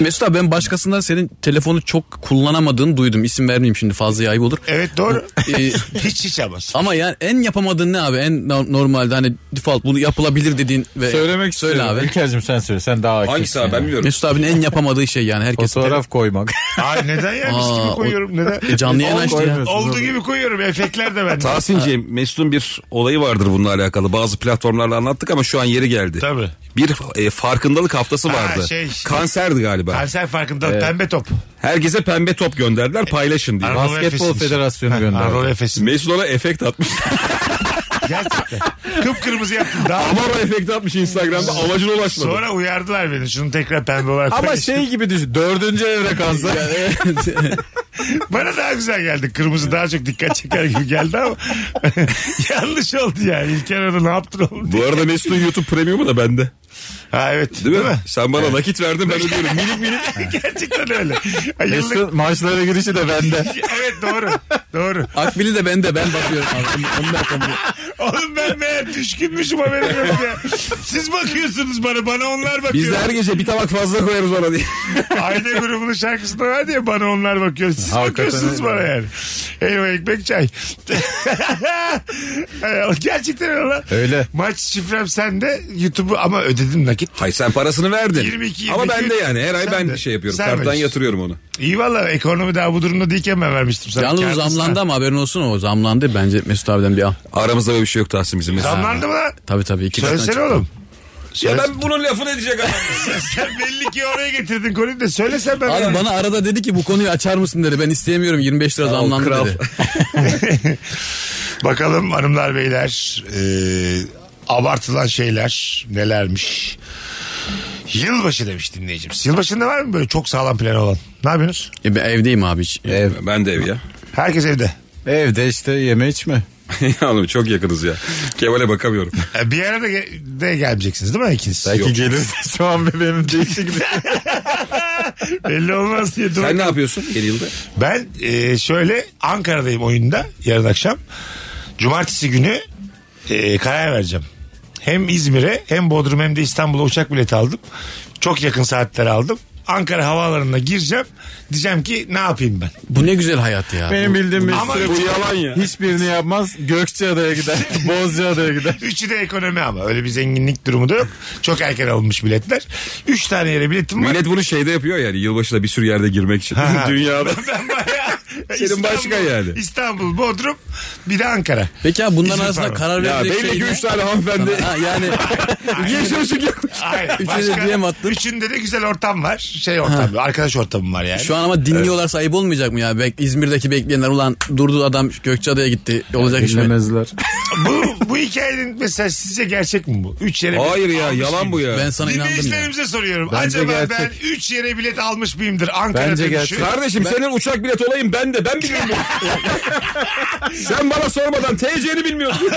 Speaker 7: Mesut abi ben başkasından senin telefonu çok kullanamadığını duydum. İsim vermeyeyim şimdi fazla ayıp olur.
Speaker 1: Evet doğru.
Speaker 7: Ee,
Speaker 1: hiç hiç ama.
Speaker 7: ama yani en yapamadığın ne abi? En no- normalde hani default bunu yapılabilir dediğin ve
Speaker 3: Söylemek
Speaker 7: söyle
Speaker 3: istiyorum.
Speaker 7: abi.
Speaker 3: İlker'cim sen söyle. Sen daha aktifsin.
Speaker 4: Hangisi abi ben
Speaker 3: yani.
Speaker 4: bilmiyorum.
Speaker 7: Mesut abinin en yapamadığı şey yani herkes.
Speaker 3: Fotoğraf koymak.
Speaker 1: Ay neden ya? Mis
Speaker 7: Aa,
Speaker 1: gibi
Speaker 7: o-
Speaker 1: koyuyorum. Neden?
Speaker 7: E, canlı yayın
Speaker 3: Oğlum
Speaker 7: açtı ya.
Speaker 3: koymuyorsun.
Speaker 1: Olduğu gibi koyuyorum. Efektler de bende.
Speaker 4: Tahsin'ciğim Mesut'un bir olayı vardır bununla alakalı. Bazı platformlarla anlattık ama şu an yeri geldi.
Speaker 1: Tabii.
Speaker 4: Bir e, farkındalık haftası
Speaker 1: Ha,
Speaker 4: vardı.
Speaker 1: şey.
Speaker 4: Kanserdi galiba.
Speaker 1: Kanser farkında. Pembe top.
Speaker 4: Herkese pembe top gönderdiler paylaşın diye.
Speaker 1: Anadolu
Speaker 3: Basketbol
Speaker 1: Efes'iymiş.
Speaker 3: Federasyonu
Speaker 1: Ha,
Speaker 3: gönderdi.
Speaker 1: Anadolu Efes'in.
Speaker 4: Mesut ona efekt atmış.
Speaker 1: Gerçekten. Kıpkırmızı yaptım. Daha
Speaker 4: Amaro efekt atmış Instagram'da amacına ulaşmadı.
Speaker 1: Sonra uyardılar beni. Şunu tekrar pembe olarak
Speaker 3: Ama
Speaker 1: paylaş.
Speaker 3: şey gibi düşün. Dördüncü evre kanser.
Speaker 1: Bana daha güzel geldi. Kırmızı daha çok dikkat çeker gibi geldi ama yanlış oldu yani. İlker Hanım ne yaptın oğlum?
Speaker 4: Bu arada Mesut'un YouTube premiumu da bende.
Speaker 1: Ha evet.
Speaker 4: Değil mi? Sen bana nakit verdin ben ödüyorum. Minik minik.
Speaker 1: Gerçekten öyle. Ay, yıllık-
Speaker 3: Mesut maçlara girişi de bende.
Speaker 1: evet doğru. Doğru.
Speaker 7: Akbil'i de bende ben bakıyorum abi. Onu da yapamıyorum.
Speaker 1: Oğlum ben meğer düşkünmüşüm haberim yok ya. Siz bakıyorsunuz bana. Bana onlar bakıyor.
Speaker 4: Biz de her gece bir tabak fazla koyarız ona diye.
Speaker 1: Aile grubunun şarkısında var diye bana onlar bakıyor. Siz
Speaker 3: Hakikaten
Speaker 1: bakıyorsunuz
Speaker 3: öyle.
Speaker 1: bana yani. Elma ekmek çay. Ee, Gerçekten öyle. lan.
Speaker 3: Öyle.
Speaker 1: Maç şifrem sende. YouTube'u ama ödedim nakit.
Speaker 4: Hayır sen parasını verdin.
Speaker 1: 22,
Speaker 4: Ama
Speaker 1: 22.
Speaker 4: ben de yani her ay
Speaker 1: Sen
Speaker 4: ben
Speaker 1: de.
Speaker 4: şey yapıyorum.
Speaker 1: Sen
Speaker 4: Karttan
Speaker 1: verirsin.
Speaker 4: yatırıyorum onu.
Speaker 1: İyi valla ekonomi daha bu durumda değilken ben vermiştim sana.
Speaker 7: Yalnız o
Speaker 1: Kârlısın
Speaker 7: zamlandı
Speaker 1: ha.
Speaker 7: ama haberin olsun o zamlandı. Bence Mesut abiden bir al.
Speaker 4: Aramızda böyle bir şey yok Tahsin bizim. Mesut.
Speaker 1: Zamlandı mı lan?
Speaker 7: Tabii tabii. iki katına
Speaker 1: Söylesene
Speaker 7: çıktı.
Speaker 1: oğlum.
Speaker 4: Ya ben bunun lafını edecek adam.
Speaker 1: Sen belli ki oraya getirdin konuyu da söylesen ben.
Speaker 7: Abi
Speaker 1: vermem.
Speaker 7: bana arada dedi ki bu konuyu açar mısın dedi. Ben isteyemiyorum 25 lira
Speaker 4: ol,
Speaker 7: zamlandı
Speaker 4: kral.
Speaker 7: dedi.
Speaker 1: Bakalım hanımlar beyler e, abartılan şeyler nelermiş. Yılbaşı demiş dinleyicimiz. Yılbaşında var mı böyle çok sağlam planı olan? Ne yapıyorsunuz?
Speaker 7: E, ben evdeyim abi hiç.
Speaker 4: Ben de ev ya.
Speaker 1: Herkes evde.
Speaker 3: Evde işte yeme içme.
Speaker 4: Ya Oğlum çok yakınız ya. Kemal'e bakamıyorum.
Speaker 1: E, Bir arada ge- de gelmeyeceksiniz değil mi ikiniz?
Speaker 3: Belki gelir şu an bebeğimin değişik gibi.
Speaker 1: Belli olmaz diye. dur-
Speaker 4: Sen ne yapıyorsun yeni yılda?
Speaker 1: Ben e, şöyle Ankara'dayım oyunda yarın akşam. Cumartesi günü e, karar vereceğim. Hem İzmir'e hem Bodrum hem de İstanbul'a uçak bileti aldım. Çok yakın saatler aldım. Ankara havaalanına gireceğim. Diyeceğim ki ne yapayım ben?
Speaker 7: Bu ne güzel hayat ya.
Speaker 3: Benim bildiğim bir
Speaker 1: Ama
Speaker 3: sürü-
Speaker 1: bu
Speaker 4: yalan ya.
Speaker 3: Hiçbirini yapmaz. Gökçeada'ya gider. Bozcaada'ya gider.
Speaker 1: Üçü de ekonomi ama öyle bir zenginlik durumu da yok. Çok erken alınmış biletler. Üç tane yere biletim var.
Speaker 4: Millet bunu şeyde yapıyor yani yılbaşında bir sürü yerde girmek için.
Speaker 1: Ha.
Speaker 4: Dünyada.
Speaker 1: Ben bayağı
Speaker 4: Senin başka yani.
Speaker 1: İstanbul, Bodrum bir de Ankara.
Speaker 7: Peki abi bunların
Speaker 1: İzin
Speaker 7: arasında
Speaker 1: var mı?
Speaker 7: karar
Speaker 4: Ya
Speaker 7: verilecek
Speaker 4: belli
Speaker 7: şey
Speaker 4: ki
Speaker 7: ne?
Speaker 4: üç tane hanımefendi.
Speaker 7: Ha, yani
Speaker 4: Yeşil ışık yakmış.
Speaker 1: Hayır,
Speaker 7: Üçüne de
Speaker 1: başka-
Speaker 7: DM attın.
Speaker 1: Üçünde de güzel ortam var. Şey ortamı, arkadaş ortamım var yani.
Speaker 7: şu an ama dinliyorlarsa ayıp olmayacak mı ya? Bek, İzmir'deki bekleyenler ulan durdu adam Gökçeada'ya gitti. Olacak iş mi?
Speaker 3: Dinlemezler.
Speaker 1: bu, bu hikayenin mesela sizce gerçek mi bu? Üç yere
Speaker 4: Hayır ya yalan bu ya.
Speaker 7: Ben sana inandım ya.
Speaker 1: Dinleyicilerimize soruyorum.
Speaker 3: Bence
Speaker 1: Acaba ben
Speaker 3: gerçek.
Speaker 1: 3 yere bilet almış mıyımdır? Ankara'da
Speaker 3: Bence
Speaker 1: düşün.
Speaker 3: gerçek.
Speaker 4: Kardeşim senin uçak bilet olayım ben de ben biliyorum. bunu. Sen bana sormadan TC'ni bilmiyorsun.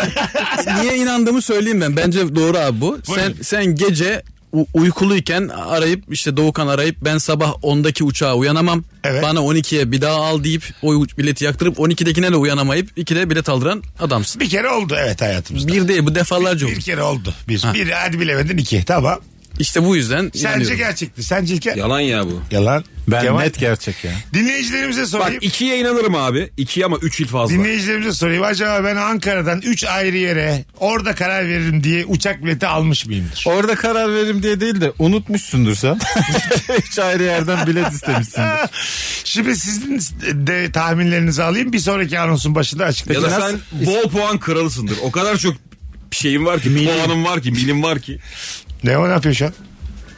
Speaker 7: Niye inandığımı söyleyeyim ben. Bence doğru abi bu. Sen
Speaker 1: Buyurun.
Speaker 7: sen gece u- uykuluyken arayıp işte Doğukan arayıp ben sabah 10'daki uçağa uyanamam.
Speaker 1: Evet.
Speaker 7: Bana 12'ye bir daha al deyip o u- bileti yaktırıp 12'dekine de uyanamayıp 2'de bilet aldıran adamsın.
Speaker 1: Bir kere oldu evet hayatımızda.
Speaker 7: Bir değil bu defalarca
Speaker 1: Bir
Speaker 7: olmuş.
Speaker 1: kere oldu. Bir, bir hadi bilemedin iki. Tamam.
Speaker 7: İşte bu yüzden
Speaker 1: Sence
Speaker 7: inanıyorum.
Speaker 1: gerçekti. Sence İlker?
Speaker 4: Yalan ya bu.
Speaker 1: Yalan.
Speaker 3: Ben
Speaker 1: Kemal?
Speaker 3: net gerçek ya.
Speaker 1: Dinleyicilerimize
Speaker 4: Bak
Speaker 1: sorayım.
Speaker 4: ikiye inanırım abi. İkiye ama üç yıl fazla.
Speaker 1: Dinleyicilerimize sorayım. Acaba ben Ankara'dan 3 ayrı yere orada karar veririm diye uçak bileti almış mıyımdır?
Speaker 3: Orada karar veririm diye değil de unutmuşsundur sen. Üç ayrı yerden bilet istemişsindir.
Speaker 1: Şimdi sizin de tahminlerinizi alayım. Bir sonraki anonsun başında
Speaker 4: Ya
Speaker 1: açıklayacağım.
Speaker 4: da
Speaker 3: nasıl-
Speaker 4: sen bol puan kralısındır. O kadar çok şeyim var ki, puanım var ki, milim var ki.
Speaker 1: Ne o ne yapıyor şu an?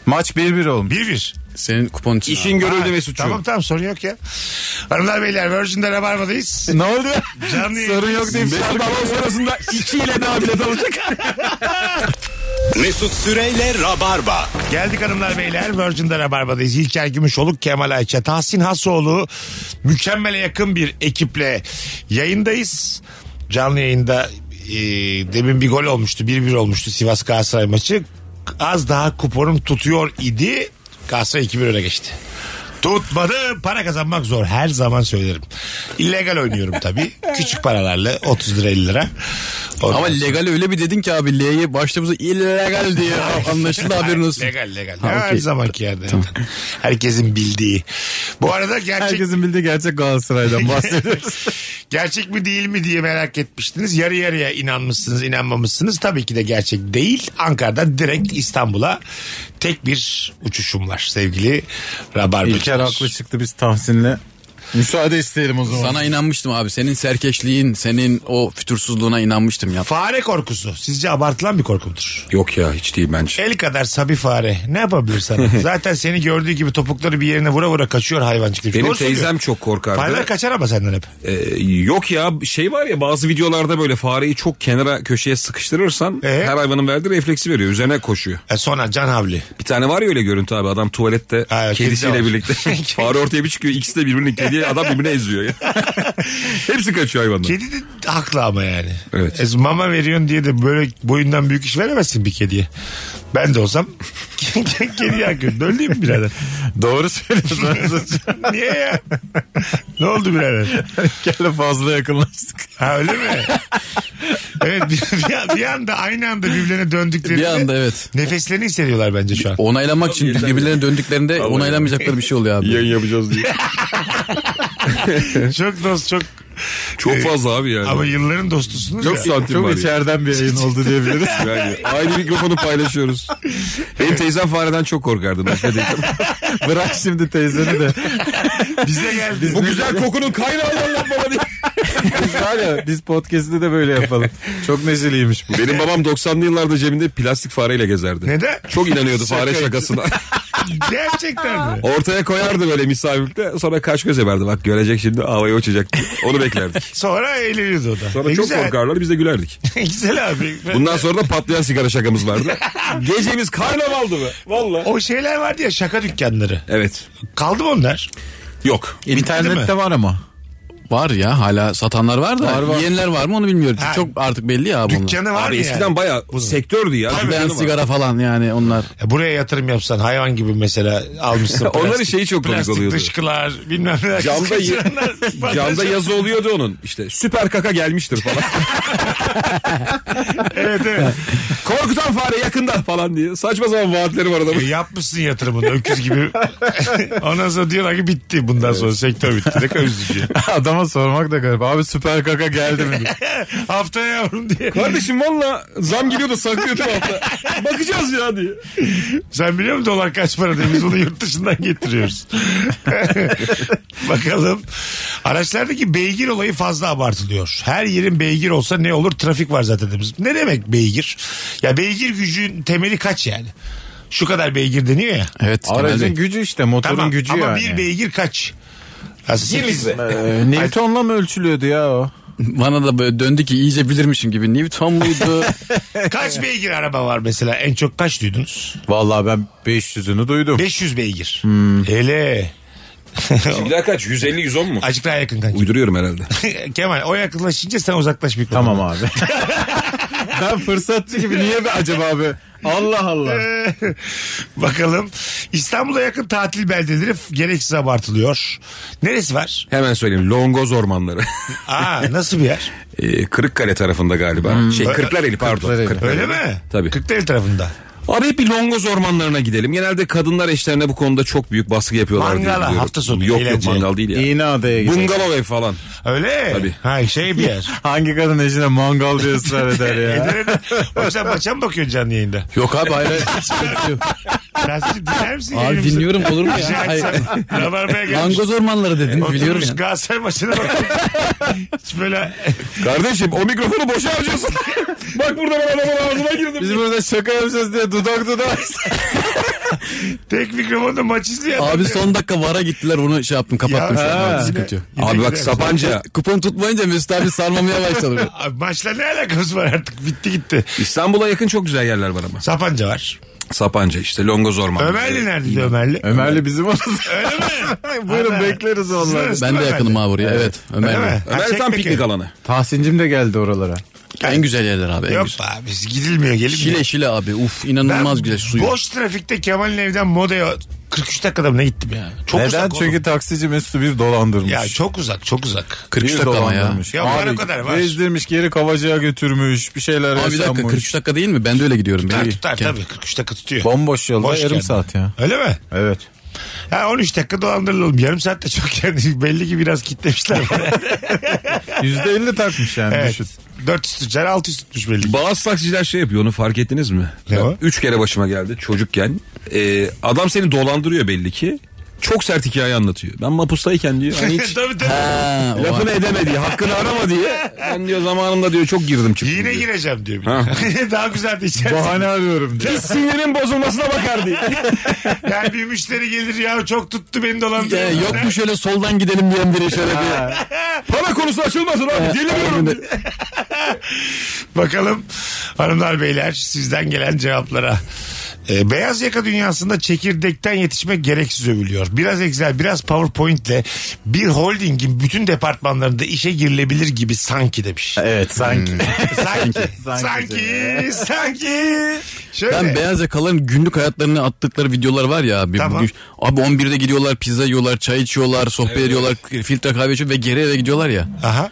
Speaker 3: Maç 1-1 olmuş.
Speaker 1: 1-1.
Speaker 7: Senin kupon için. abi.
Speaker 4: İşin görüldü Mesut'cuğum.
Speaker 1: Tamam tamam sorun yok ya. Hanımlar beyler Virgin'de Rabarba'dayız.
Speaker 3: Ne oldu?
Speaker 1: Canlı yayın.
Speaker 3: Sorun yok deyip
Speaker 4: Mesut balon sonrasında iki ile daha bilet alacak.
Speaker 9: Mesut Süreyle Rabarba.
Speaker 1: Geldik hanımlar beyler Virgin'de Rabarba'dayız. İlker Gümüşoluk, Kemal Ayça, Tahsin Hasoğlu mükemmele yakın bir ekiple yayındayız. Canlı yayında e, demin bir gol olmuştu 1-1 olmuştu Sivas Galatasaray maçı. Az daha kuponum tutuyor idi. Galatasaray 2-1 öne geçti. Tutmadı para kazanmak zor her zaman söylerim. İllegal oynuyorum tabii. Küçük paralarla 30 lira 50 lira. Ondan
Speaker 7: Ama
Speaker 1: sonra-
Speaker 7: legal öyle bir dedin ki abi L'ye başlamıza illegal diye anlaşıldı haberin olsun.
Speaker 1: Legal legal.
Speaker 7: Ha,
Speaker 1: her
Speaker 7: okey.
Speaker 1: zamanki yerde. Herkesin bildiği. Bu arada gerçek
Speaker 3: Herkesin bildiği gerçek Galatasaray'dan bahsediyoruz.
Speaker 1: gerçek mi değil mi diye merak etmiştiniz. Yarı yarıya inanmışsınız, inanmamışsınız. Tabii ki de gerçek değil. Ankara'dan direkt İstanbul'a tek bir uçuşum var sevgili Rabarbacılar.
Speaker 3: İlker haklı çıktı biz Tahsin'le. Müsaade isteyelim o zaman.
Speaker 7: Sana inanmıştım abi. Senin serkeşliğin, senin o fütursuzluğuna inanmıştım ya.
Speaker 1: Fare korkusu sizce abartılan bir korku mudur?
Speaker 4: Yok ya hiç değil bence.
Speaker 1: El kadar sabi fare ne yapabilir sana? Zaten seni gördüğü gibi topukları bir yerine vura vura kaçıyor hayvancık. gibi.
Speaker 4: Benim
Speaker 1: Doğru söylüyor.
Speaker 4: teyzem çok korkardı.
Speaker 1: Fareler kaçar ama senden hep.
Speaker 4: Ee, yok ya şey var ya bazı videolarda böyle fareyi çok kenara köşeye sıkıştırırsan
Speaker 1: Ee?
Speaker 4: her hayvanın verdiği refleksi veriyor. Üzerine koşuyor.
Speaker 1: E sonra can havli.
Speaker 4: Bir tane var ya öyle görüntü abi adam tuvalette
Speaker 1: Ha, evet,
Speaker 4: kedisiyle
Speaker 1: kedi de var.
Speaker 4: birlikte. fare ortaya bir çıkıyor ikisi de birbirini kedi adam birbirini eziyor ya. Hepsi kaçıyor hayvandan.
Speaker 1: Kedi de haklı ama yani.
Speaker 4: Evet.
Speaker 1: E, mama veriyorsun diye de böyle boyundan büyük iş veremezsin bir kediye. Ben de olsam kediye hak ediyorum. Öyle değil mi birader?
Speaker 3: Doğru söylüyorsunuz.
Speaker 1: Niye ya? ne oldu birader?
Speaker 3: İlker'le fazla yakınlaştık.
Speaker 1: Ha öyle mi? evet bir, bir- bir anda aynı anda birbirlerine döndüklerinde
Speaker 7: Bir anda evet.
Speaker 1: nefeslerini hissediyorlar bence şu an.
Speaker 7: Onaylamak için birbirlerine döndüklerinde onaylamayacakları bir şey oluyor abi.
Speaker 4: yapacağız diye.
Speaker 1: çok dost çok
Speaker 4: Çok fazla abi yani.
Speaker 1: ama yılların dostusunuz
Speaker 4: Çok
Speaker 1: ya.
Speaker 4: santim var
Speaker 3: Çok
Speaker 4: ya.
Speaker 3: içeriden bir yayın oldu diyebiliriz.
Speaker 4: Yani aynı mikrofonu paylaşıyoruz. Benim teyzem fareden çok korkardı. Başka değil.
Speaker 3: Bırak şimdi teyzeni de.
Speaker 1: Bize geldi.
Speaker 4: Bu güzel kokunun kaynağından lan baba diye.
Speaker 3: Biz var ya biz podcast'ı de böyle yapalım. Çok neşeliymiş bu.
Speaker 4: Benim babam 90'lı yıllarda cebinde plastik fareyle gezerdi.
Speaker 1: Neden?
Speaker 4: Çok inanıyordu fare şakasına.
Speaker 1: Gerçekten mi?
Speaker 4: Ortaya koyardı böyle misafirlikte. Sonra kaç göz verdi. Bak görecek şimdi havaya uçacak. diye. Onu beklerdik.
Speaker 1: Sonra eğleniyordu o da.
Speaker 4: Sonra
Speaker 1: E,
Speaker 4: çok
Speaker 1: güzel.
Speaker 4: korkarlar biz de gülerdik.
Speaker 1: güzel abi.
Speaker 4: Bundan sonra da patlayan sigara şakamız vardı. Gecemiz karnavaldı mı? Valla.
Speaker 1: O şeyler vardı ya şaka dükkanları.
Speaker 4: Evet.
Speaker 1: Kaldı mı onlar?
Speaker 4: Yok.
Speaker 3: İnternette var ama.
Speaker 7: Var ya hala satanlar var da yiyenler var mı onu bilmiyorum.
Speaker 1: Ha.
Speaker 7: Çok artık belli ya bunlar.
Speaker 1: Dükkanı var
Speaker 4: Abi
Speaker 1: mı
Speaker 4: eskiden
Speaker 1: yani?
Speaker 4: bayağı sektördü ya.
Speaker 7: Ben
Speaker 4: Dükkanı var.
Speaker 7: sigara falan yani onlar.
Speaker 1: Ya E, Buraya yatırım yapsan hayvan gibi mesela almışsın.
Speaker 4: Onların şeyi çok komik
Speaker 1: plastik
Speaker 4: oluyordu.
Speaker 1: dışkılar bilmem neler.
Speaker 4: şey Camda, ye-
Speaker 1: Kaçıranlar,
Speaker 4: camda
Speaker 1: patates-
Speaker 4: yazı oluyordu onun. İşte süper kaka gelmiştir falan.
Speaker 1: Evet evet.
Speaker 4: Korkutan fare yakında falan diye. Saçma sapan vaatleri var adamın.
Speaker 1: E, Yapmışsın yatırımını öküz gibi. Ondan sonra diyorlar ki bitti bundan sonra sektör bitti. Ne kadar üzücü.
Speaker 3: Adama sormak da garip. Abi süper kaka geldi mi? diye.
Speaker 1: Haftaya yavrum diye.
Speaker 4: Kardeşim valla zam geliyor da saklıyordu hafta. Bakacağız ya diye.
Speaker 1: Sen biliyor musun dolar kaç para diye biz bunu yurt dışından getiriyoruz. Bakalım. Araçlardaki beygir olayı fazla abartılıyor. Her yerin beygir olsa ne olur? Trafik var zaten demiş. Ne demek beygir? Ya beygir gücün temeli kaç yani? Şu kadar beygir deniyor ya.
Speaker 7: Evet.
Speaker 3: Aracın
Speaker 7: genelde.
Speaker 3: gücü işte motorun
Speaker 1: Tamam
Speaker 3: gücü
Speaker 1: ama
Speaker 3: yani.
Speaker 1: bir beygir kaç? Aslında sekiz-
Speaker 3: Ee, Newton'la mı ölçülüyordu ya o?
Speaker 7: Bana da böyle döndü ki iyice bilirmişim gibi. Newton muydu?
Speaker 1: Kaç beygir araba var mesela? En çok kaç duydunuz?
Speaker 3: Vallahi ben 500'ünü duydum.
Speaker 1: 500 beygir.
Speaker 3: Hmm.
Speaker 1: Hele.
Speaker 4: Bir daha kaç? 150-110 mu?
Speaker 1: Azıcık daha yakın kanka.
Speaker 4: Uyduruyorum herhalde.
Speaker 1: Kemal o yakınlaşınca sen uzaklaş bir
Speaker 3: Tamam abi. ben fırsatçı gibi niye be acaba abi? Allah Allah.
Speaker 1: Bakalım. İstanbul'a yakın tatil beldeleri f- gereksiz abartılıyor. Neresi var?
Speaker 4: Hemen söyleyeyim. Longoz ormanları.
Speaker 1: Aa nasıl bir yer?
Speaker 4: Ee, Kırıkkale tarafında galiba. Şey Kırklareli pardon.
Speaker 3: Kırklareli.
Speaker 4: Kırklareli.
Speaker 1: Öyle mi?
Speaker 4: Tabii.
Speaker 1: Kırklareli tarafında.
Speaker 4: Abi hep bir longoz ormanlarına gidelim. Genelde kadınlar eşlerine bu konuda çok büyük baskı yapıyorlar diye
Speaker 1: Mangala,
Speaker 4: biliyorum.
Speaker 1: hafta sonu,
Speaker 4: Yok
Speaker 1: eğlence.
Speaker 4: yok mangal değil ya.
Speaker 3: İğneada'ya gidelim.
Speaker 4: Bungalov ev falan.
Speaker 1: Öyle.
Speaker 4: Tabii.
Speaker 1: Ha şey bir yer.
Speaker 3: Hangi kadın eşine mangal diye ısrar eder ya?
Speaker 1: Ederim. Oğlum sen maça mı bakıyorsun canlı yayında?
Speaker 7: Yok abi hayır. hayır.
Speaker 1: Rasim dinler misin?
Speaker 7: abi
Speaker 1: yayınımızı?
Speaker 7: dinliyorum olur mu
Speaker 1: Rica
Speaker 7: ya? Hayır.
Speaker 1: etsem. Rabarbaya gelmiş.
Speaker 7: Langoz ormanları dediniz
Speaker 1: Oturmuş
Speaker 7: biliyorum ya.
Speaker 1: Galatasaray maçına bakıyor. Hiç böyle
Speaker 4: Kardeşim o mikrofonu boşa harcıyorsun. Bak burada ben adamın ağzına girdim.
Speaker 3: Biz burada şaka yapacağız diye dudak dudağa
Speaker 1: tek mikrofonda maç izliyor. adam
Speaker 7: Abi
Speaker 1: ya.
Speaker 7: son dakika vara gittiler onu şey yaptım kapattım
Speaker 1: Ya,
Speaker 7: şu an.
Speaker 3: ha.
Speaker 7: Evet, Sıkıntı yok.
Speaker 4: Abi bak Sapanca
Speaker 7: Kupon tutmayınca Mesut abi sarmamaya başladı.
Speaker 1: Abi maçla ne alakası var artık? Bitti gitti.
Speaker 4: İstanbul'a yakın çok güzel yerler var ama.
Speaker 1: Sapanca var.
Speaker 4: Sapanca işte Longoz Ormanı.
Speaker 1: Ömerli neredeydi Ömerli?
Speaker 3: Ömer'le bizim orası.
Speaker 1: Öyle mi?
Speaker 3: Buyurun
Speaker 1: Ömer.
Speaker 3: bekleriz onları.
Speaker 1: Sınırsız
Speaker 7: ben de
Speaker 1: Ömerli.
Speaker 7: yakınım abi buraya. Evet.
Speaker 1: Öyle
Speaker 7: Ömer.
Speaker 1: mi?
Speaker 7: Bey.
Speaker 1: Ha,
Speaker 4: Ömer tam
Speaker 1: çekmek
Speaker 4: piknik
Speaker 1: evi.
Speaker 4: alanı.
Speaker 3: Tahsin'cim de geldi oralara.
Speaker 7: En güzel yerler abi. En
Speaker 1: Yok
Speaker 7: güzel.
Speaker 1: abi gidilmiyor gelip.
Speaker 7: Şile şile abi. Uf inanılmaz güzel suyu.
Speaker 1: Boş trafikte Kemal'in evden modaya 43 dakikada mı ne gittim ya? Çok
Speaker 3: Neden?
Speaker 1: uzak oğlum.
Speaker 3: Çünkü taksici Mesut'u bir dolandırmış.
Speaker 1: Ya çok uzak çok uzak.
Speaker 7: 43
Speaker 3: Bir
Speaker 7: dakika ama ya.
Speaker 3: dolandırmış.
Speaker 1: Ya var o kadar, var.
Speaker 3: Gezdirmiş geri Kavacı'ya götürmüş. Bir şeyler
Speaker 7: Abi bir dakika
Speaker 3: yaşanmış.
Speaker 7: 43 dakika değil mi? Ben de öyle gidiyorum.
Speaker 1: Tutar
Speaker 7: Beni-
Speaker 1: tutar tabii 43 dakika tutuyor.
Speaker 3: Bomboş yolda
Speaker 1: Boş
Speaker 3: yarım
Speaker 1: geldi.
Speaker 3: saat ya.
Speaker 1: Öyle mi?
Speaker 3: Evet.
Speaker 1: Ha 13 dakika dolandırılalım. Yarım saatte çok yani belli ki biraz kitlemişler.
Speaker 3: %50 takmış yani
Speaker 1: evet.
Speaker 3: düşün.
Speaker 1: 400 tutacaksın 600 tutmuş belli ki.
Speaker 4: Bazı taksiciler şey yapıyor onu fark ettiniz mi?
Speaker 1: Ne
Speaker 4: Ben
Speaker 1: o?
Speaker 4: Üç kere başıma geldi çocukken. Ee, adam seni dolandırıyor belli ki. Çok sert hikaye anlatıyor. Ben mapustayken diyor. Hani hiç
Speaker 1: tabii tabii.
Speaker 7: Ha, o-
Speaker 4: lafını edemedi hakkını arama diye. Ben diyor zamanında diyor çok girdim çıktım.
Speaker 1: Yine
Speaker 4: diyor.
Speaker 1: gireceğim diyor. bir
Speaker 4: Ha.
Speaker 1: de. Daha güzel de içersin.
Speaker 3: Bahane arıyorum diye.
Speaker 4: Biz sinirin bozulmasına bakar diye.
Speaker 1: Yani bir müşteri gelir ya çok tuttu beni
Speaker 7: Ya,
Speaker 1: dolandırıyor.
Speaker 7: Ee, yok mu şöyle soldan gidelim diyen biri şöyle bir.
Speaker 4: Para konusu açılmasın abi deliriyorum. diyor.
Speaker 1: Bakalım hanımlar beyler sizden gelen cevaplara. Ee, beyaz yaka dünyasında çekirdekten yetişmek gereksiz övülüyor. Biraz Excel, biraz PowerPoint'le bir holdingin bütün departmanlarında işe girilebilir gibi sanki demiş. Hmm.
Speaker 3: Evet sanki.
Speaker 1: sanki,
Speaker 3: Sanki.
Speaker 1: sanki, sanki. Şöyle.
Speaker 7: Ben beyaz yakaların günlük hayatlarını attıkları videolar var ya abi.
Speaker 1: Tamam.
Speaker 7: Bugün, abi 11'de gidiyorlar pizza yiyorlar, çay içiyorlar, sohbet ediyorlar, filtre kahve içiyor ve geri eve gidiyorlar ya.
Speaker 1: Aha.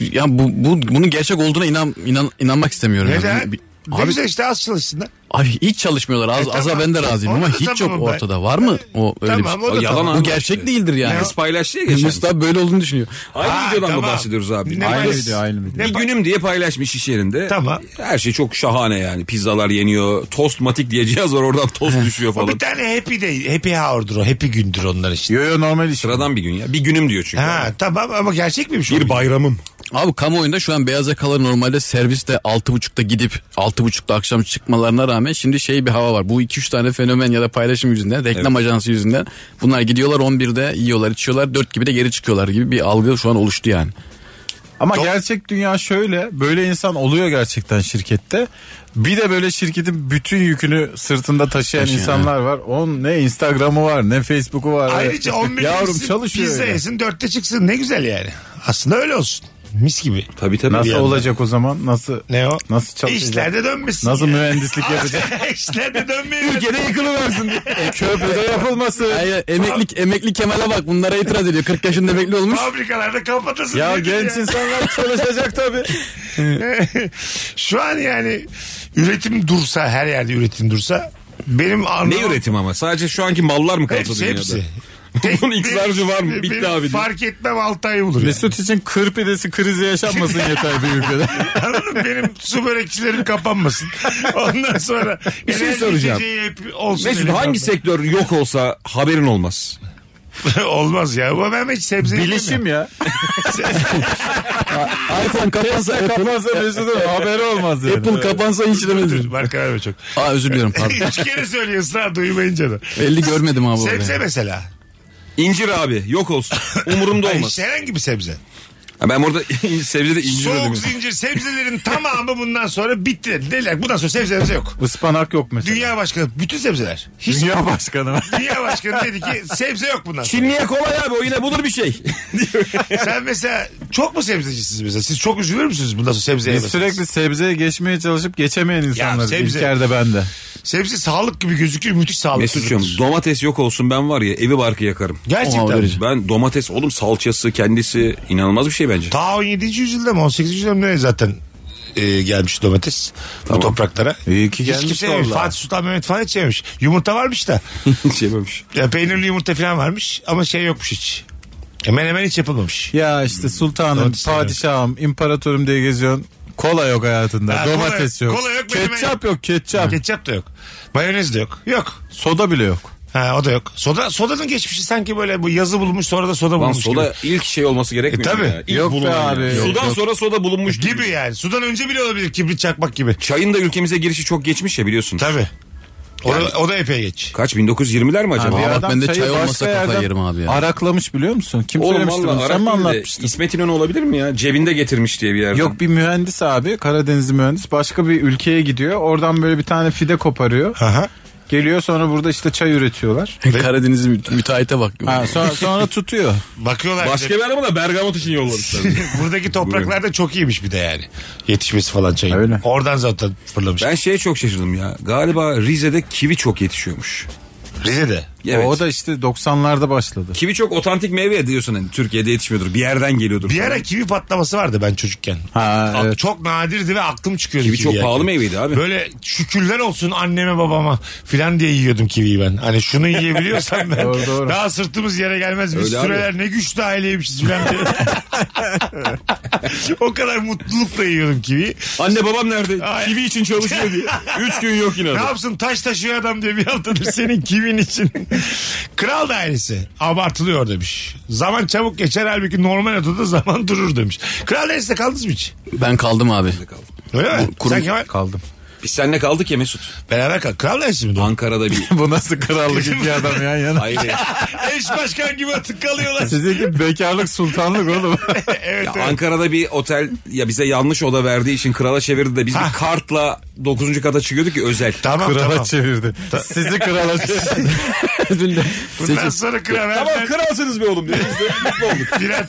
Speaker 7: Ya bu, bu bunun gerçek olduğuna inan, inan inanmak istemiyorum. ya.
Speaker 1: Neden?
Speaker 7: Bu- bir-
Speaker 1: Ne
Speaker 7: Abi,
Speaker 1: güzel işte az çalışsınlar.
Speaker 7: abi hiç çalışmıyorlar. Az,
Speaker 1: E, tamam.
Speaker 7: Aza ben de razıyım
Speaker 1: Onu
Speaker 7: ama
Speaker 1: da
Speaker 7: hiç yok
Speaker 1: tamamım ben.
Speaker 7: ortada. Var mı o öyle
Speaker 1: Tamam,
Speaker 7: bir
Speaker 1: o da
Speaker 7: şey?
Speaker 4: yalan
Speaker 1: tamam.
Speaker 4: abi.
Speaker 7: Bu gerçek değildir yani.
Speaker 4: Biz paylaştı ya geçen.
Speaker 7: Mustafa böyle olduğunu düşünüyor.
Speaker 4: Aynı
Speaker 1: Ha,
Speaker 4: videodan mı
Speaker 1: tamam.
Speaker 4: bahsediyoruz abi?
Speaker 1: Ne
Speaker 3: aynı
Speaker 1: paylaş-
Speaker 3: video aynı video.
Speaker 1: Ne
Speaker 4: Bir günüm diye paylaşmış iş yerinde.
Speaker 1: Tamam.
Speaker 4: Her şey çok şahane yani. Pizzalar yeniyor. Tost matik diye cihaz var oradan tost düşüyor
Speaker 1: O
Speaker 4: falan.
Speaker 1: bir tane happy day, happy hour'dur o. Happy gündür onlar işte.
Speaker 3: Yo yo normal iş.
Speaker 4: Sıradan bir gün ya. Bir günüm diyor çünkü.
Speaker 1: Ha tamam ama gerçek miymiş o?
Speaker 4: Bir bayramım.
Speaker 7: Abi kamuoyunda şu an beyaz yakalar normalde serviste 6.30'da gidip 6.30'da akşam çıkmalarına rağmen şimdi şey bir hava var. Bu 2-3 tane fenomen ya da paylaşım yüzünden, reklam ajansı yüzünden bunlar gidiyorlar 11'de yiyorlar, içiyorlar, 4 gibi de geri çıkıyorlar gibi bir algı şu an oluştu yani.
Speaker 3: Ama gerçek dünya şöyle. Böyle insan oluyor gerçekten şirkette. Bir de böyle şirketin bütün yükünü sırtında taşıyan
Speaker 7: Taşıyan,
Speaker 3: insanlar var. Onun ne Instagram'ı var ne Facebook'u var.
Speaker 1: Ayrıca 11
Speaker 3: Yavrum
Speaker 1: yesin,
Speaker 3: çalışıyor.
Speaker 1: pizza
Speaker 3: öyle.
Speaker 1: yesin 4'te çıksın ne güzel yani. Aslında öyle olsun. Mis gibi.
Speaker 4: Tabii tabii.
Speaker 3: Nasıl
Speaker 4: Yani.
Speaker 3: olacak o zaman? Nasıl
Speaker 1: Ne o?
Speaker 3: Nasıl çalışacak?
Speaker 1: İşlerde dönmesin.
Speaker 3: Nasıl
Speaker 1: ya.
Speaker 3: mühendislik yapacak?
Speaker 1: İşlerde dönmeyin.
Speaker 3: Ülkede yıkılıversin diye. E, Köprüde yapılmasın.
Speaker 7: Ay, emekli, emekli Kemal'e bak bunlara itiraz ediyor. 40 yaşında emekli olmuş.
Speaker 4: şey-
Speaker 1: Fabrikalarda kapatasın.
Speaker 3: Ya
Speaker 1: nedir
Speaker 3: genç insanlar çalışacak tabii.
Speaker 1: Şu an yani üretim dursa her yerde üretim dursa benim anlamam.
Speaker 4: Ne üretim ama? Sadece şu anki mallar mı kaldı
Speaker 1: Hepsi
Speaker 4: dünyada?
Speaker 1: hepsi.
Speaker 4: Bunun iksarcı var mı?
Speaker 1: Benim
Speaker 4: Bitti abi. diyor.
Speaker 1: Fark etmem 6 ay olur. Yani.
Speaker 3: Mesut için kır pidesi krizi yaşanmasın yeter bir ülkede.
Speaker 1: Anladın mı? Benim su börekçilerim kapanmasın. Ondan sonra bir
Speaker 4: şey soracağım.
Speaker 1: olsun
Speaker 4: Mesut
Speaker 1: elimde.
Speaker 4: hangi sektör yok olsa haberin olmaz.
Speaker 1: Olmaz ya. Ama ben hiç sebze
Speaker 3: Bilişim ya.
Speaker 7: iPhone kapansa Apple,
Speaker 3: Kapansa Mesut'un haberi olmaz yani.
Speaker 7: Apple kapansa hiç demezdim.
Speaker 1: Marka verme çok.
Speaker 7: Aa özür diliyorum pardon.
Speaker 1: Üç kere söylüyorsun ha duymayınca da.
Speaker 7: Belli görmedim abi orayı.
Speaker 1: Sebze mesela.
Speaker 4: İncir abi yok olsun. Umurumda
Speaker 1: Ay,
Speaker 4: olmaz.
Speaker 1: işte herhangi bir sebze.
Speaker 4: Ha, ben orada sebzede incir
Speaker 1: Soğuk
Speaker 4: dedim.
Speaker 1: zincir sebzelerin tamamı bundan sonra bitti. Dediler ki bundan sonra sebze sebze yok.
Speaker 3: Ispanak yok mesela.
Speaker 1: Dünya başkanı bütün sebzeler. Hiç dünya,
Speaker 3: Dünya başkanı var.
Speaker 1: başkanı dedi ki sebze yok bundan sonra.
Speaker 4: Çinliye kolay abi o yine bulur bir şey.
Speaker 1: Sen mesela çok mu sebzecisiniz mesela? Siz çok üzülür müsünüz bundan sonra sebze
Speaker 3: Biz
Speaker 1: yemeseniz?
Speaker 3: sürekli sebzeye geçmeye çalışıp geçemeyen insanlarız.
Speaker 1: sebze-
Speaker 3: İlker de ben de.
Speaker 1: Sebze sağlık gibi gözüküyor. Müthiş sağlıksızlıktır.
Speaker 4: Mesut'cum domates yok olsun ben var ya evi barkı yakarım.
Speaker 7: Oha,
Speaker 1: Gerçekten.
Speaker 7: öyle.
Speaker 4: Ben domates oğlum salçası kendisi inanılmaz bir şey bence.
Speaker 1: Ta 17. yüzyılda mı 18. yüzyılda mı ne zaten e, gelmiş domates bu topraklara.
Speaker 3: İyi ki
Speaker 1: Hiç
Speaker 3: gelmiş
Speaker 1: kimse yememiş.
Speaker 3: vallahi.
Speaker 1: Fatih Sultan Mehmet falan hiç yememiş. Yumurta varmış da.
Speaker 4: Hiç yememiş.
Speaker 1: Ya peynirli yumurta falan varmış ama şey yokmuş hiç. Hemen hemen hiç yapılmamış.
Speaker 3: Ya
Speaker 1: Hmm.
Speaker 3: işte sultanım,
Speaker 1: Domates yok.
Speaker 3: padişahım, imparatorum diye geziyorsun. Kola yok hayatında.
Speaker 1: Ha,
Speaker 3: Domates
Speaker 1: kola-
Speaker 3: yok.
Speaker 1: kola yok, menemen
Speaker 3: Ketçap yok, ketçap.
Speaker 1: Ketçap da yok. Mayonez de yok. Yok.
Speaker 3: Soda bile yok.
Speaker 1: Ha o da yok. Soda sodanın geçmişi sanki böyle bu yazı bulmuş sonra da soda
Speaker 4: Lan
Speaker 1: bulmuş
Speaker 4: soda
Speaker 1: gibi.
Speaker 4: ilk şey olması gerekmiyor.
Speaker 1: E,
Speaker 4: mu
Speaker 1: tabii.
Speaker 4: ya? İlk
Speaker 3: Yok be
Speaker 4: bulunan
Speaker 3: abi.
Speaker 4: ya.
Speaker 3: Yok,
Speaker 4: Sudan
Speaker 3: yok.
Speaker 4: sonra soda bulunmuş gibi.
Speaker 1: Gibi yani. Sudan önce bile olabilir kibrit çakmak gibi.
Speaker 4: Çayın da ülkemize girişi çok geçmiş ya biliyorsun.
Speaker 1: Tabii. O, da, o da epey geç.
Speaker 4: Kaç 1920'ler mi acaba?
Speaker 3: Bir
Speaker 7: bak
Speaker 3: adam
Speaker 7: ben de
Speaker 3: çayı
Speaker 7: çay olmasa
Speaker 3: başka
Speaker 7: kafayı
Speaker 3: yerden
Speaker 7: yerim abi ya.
Speaker 3: Araklamış biliyor musun? Kim
Speaker 4: Oğlum
Speaker 3: söylemişti
Speaker 4: valla
Speaker 3: bunu? Sen
Speaker 4: Arap
Speaker 3: mi
Speaker 4: değil de
Speaker 3: anlatmıştın?
Speaker 4: İsmet İnönü olabilir mi ya? Cebinde getirmiş diye bir yerden.
Speaker 3: Yok bir mühendis abi Karadenizli mühendis başka bir ülkeye gidiyor oradan böyle bir tane fide koparıyor
Speaker 1: Aha.
Speaker 3: Geliyor sonra burada işte çay üretiyorlar.
Speaker 7: Karadeniz'i mü- müteahhite bak.
Speaker 3: Ha, sonra, sonra tutuyor.
Speaker 1: Bakıyorlar. bir de-
Speaker 4: Başka bir adamı da Bergamot için yollamışlar.
Speaker 1: Buradaki topraklarda çok iyiymiş bir de yani. Yetişmesi falan çayın.
Speaker 3: Öyle.
Speaker 1: Oradan zaten fırlamış.
Speaker 4: ben şeye çok şaşırdım ya. Galiba Rize'de kivi çok yetişiyormuş.
Speaker 1: Rize'de.
Speaker 4: Evet.
Speaker 3: O da işte 90'larda başladı.
Speaker 4: Kivi çok otantik meyve diyorsun hani Türkiye'de yetişmiyordur. Bir yerden geliyordur.
Speaker 1: Bir
Speaker 4: falan.
Speaker 1: ara kivi patlaması vardı ben çocukken.
Speaker 3: Ha,
Speaker 1: Ak-
Speaker 3: evet.
Speaker 1: Çok nadirdi ve aklım çıkıyordu.
Speaker 4: Kivi çok
Speaker 1: kiviye.
Speaker 4: pahalı meyveydi abi.
Speaker 1: Böyle şükürler olsun anneme babama filan diye yiyordum kiviyi ben. Hani şunu yiyebiliyorsam ben
Speaker 3: Doğru, doğru.
Speaker 1: daha sırtımız yere gelmez. Biz
Speaker 4: Öyle abi.
Speaker 1: süreler ne güçlü aileymişiz filan diye. o kadar mutlulukla yiyordum kiviyi.
Speaker 4: Anne babam nerede?
Speaker 1: Ay.
Speaker 4: Kivi için çalışıyor diye. Üç gün yok yine.
Speaker 1: Ne
Speaker 4: adam.
Speaker 1: yapsın taş taşıyor adam diye bir haftadır senin kimin için. Kral dairesi abartılıyor demiş. Zaman çabuk geçer halbuki normal odada zaman durur demiş. Kral dairesi kaldınız mı hiç?
Speaker 7: Ben kaldım abi.
Speaker 1: Öyle mi?
Speaker 7: kurum-
Speaker 1: Sen Kemal
Speaker 3: Kaldım.
Speaker 4: Biz seninle kaldık ya Mesut.
Speaker 1: beraber kal. Kral dairesi mi?
Speaker 4: Ankara'da bir...
Speaker 3: Bu nasıl krallık iki adam yan yana.
Speaker 4: Hayır. ya.
Speaker 1: Eş başkan gibi atık kalıyorlar.
Speaker 3: Sizinki bekarlık sultanlık oğlum.
Speaker 1: evet,
Speaker 4: Ya
Speaker 1: evet.
Speaker 4: Ankara'da bir otel ya bize yanlış oda verdiği için krala çevirdi de biz
Speaker 1: Ha.
Speaker 4: bir kartla 9. kata çıkıyorduk ya özel.
Speaker 1: Tamam
Speaker 3: Krala
Speaker 1: tamam.
Speaker 3: çevirdi. Sizi krala çevirdi.
Speaker 1: Bundan sonra kral
Speaker 4: Tamam
Speaker 1: verdiler
Speaker 4: kralsınız be oğlum diye. Biz de mutlu olduk.
Speaker 1: birer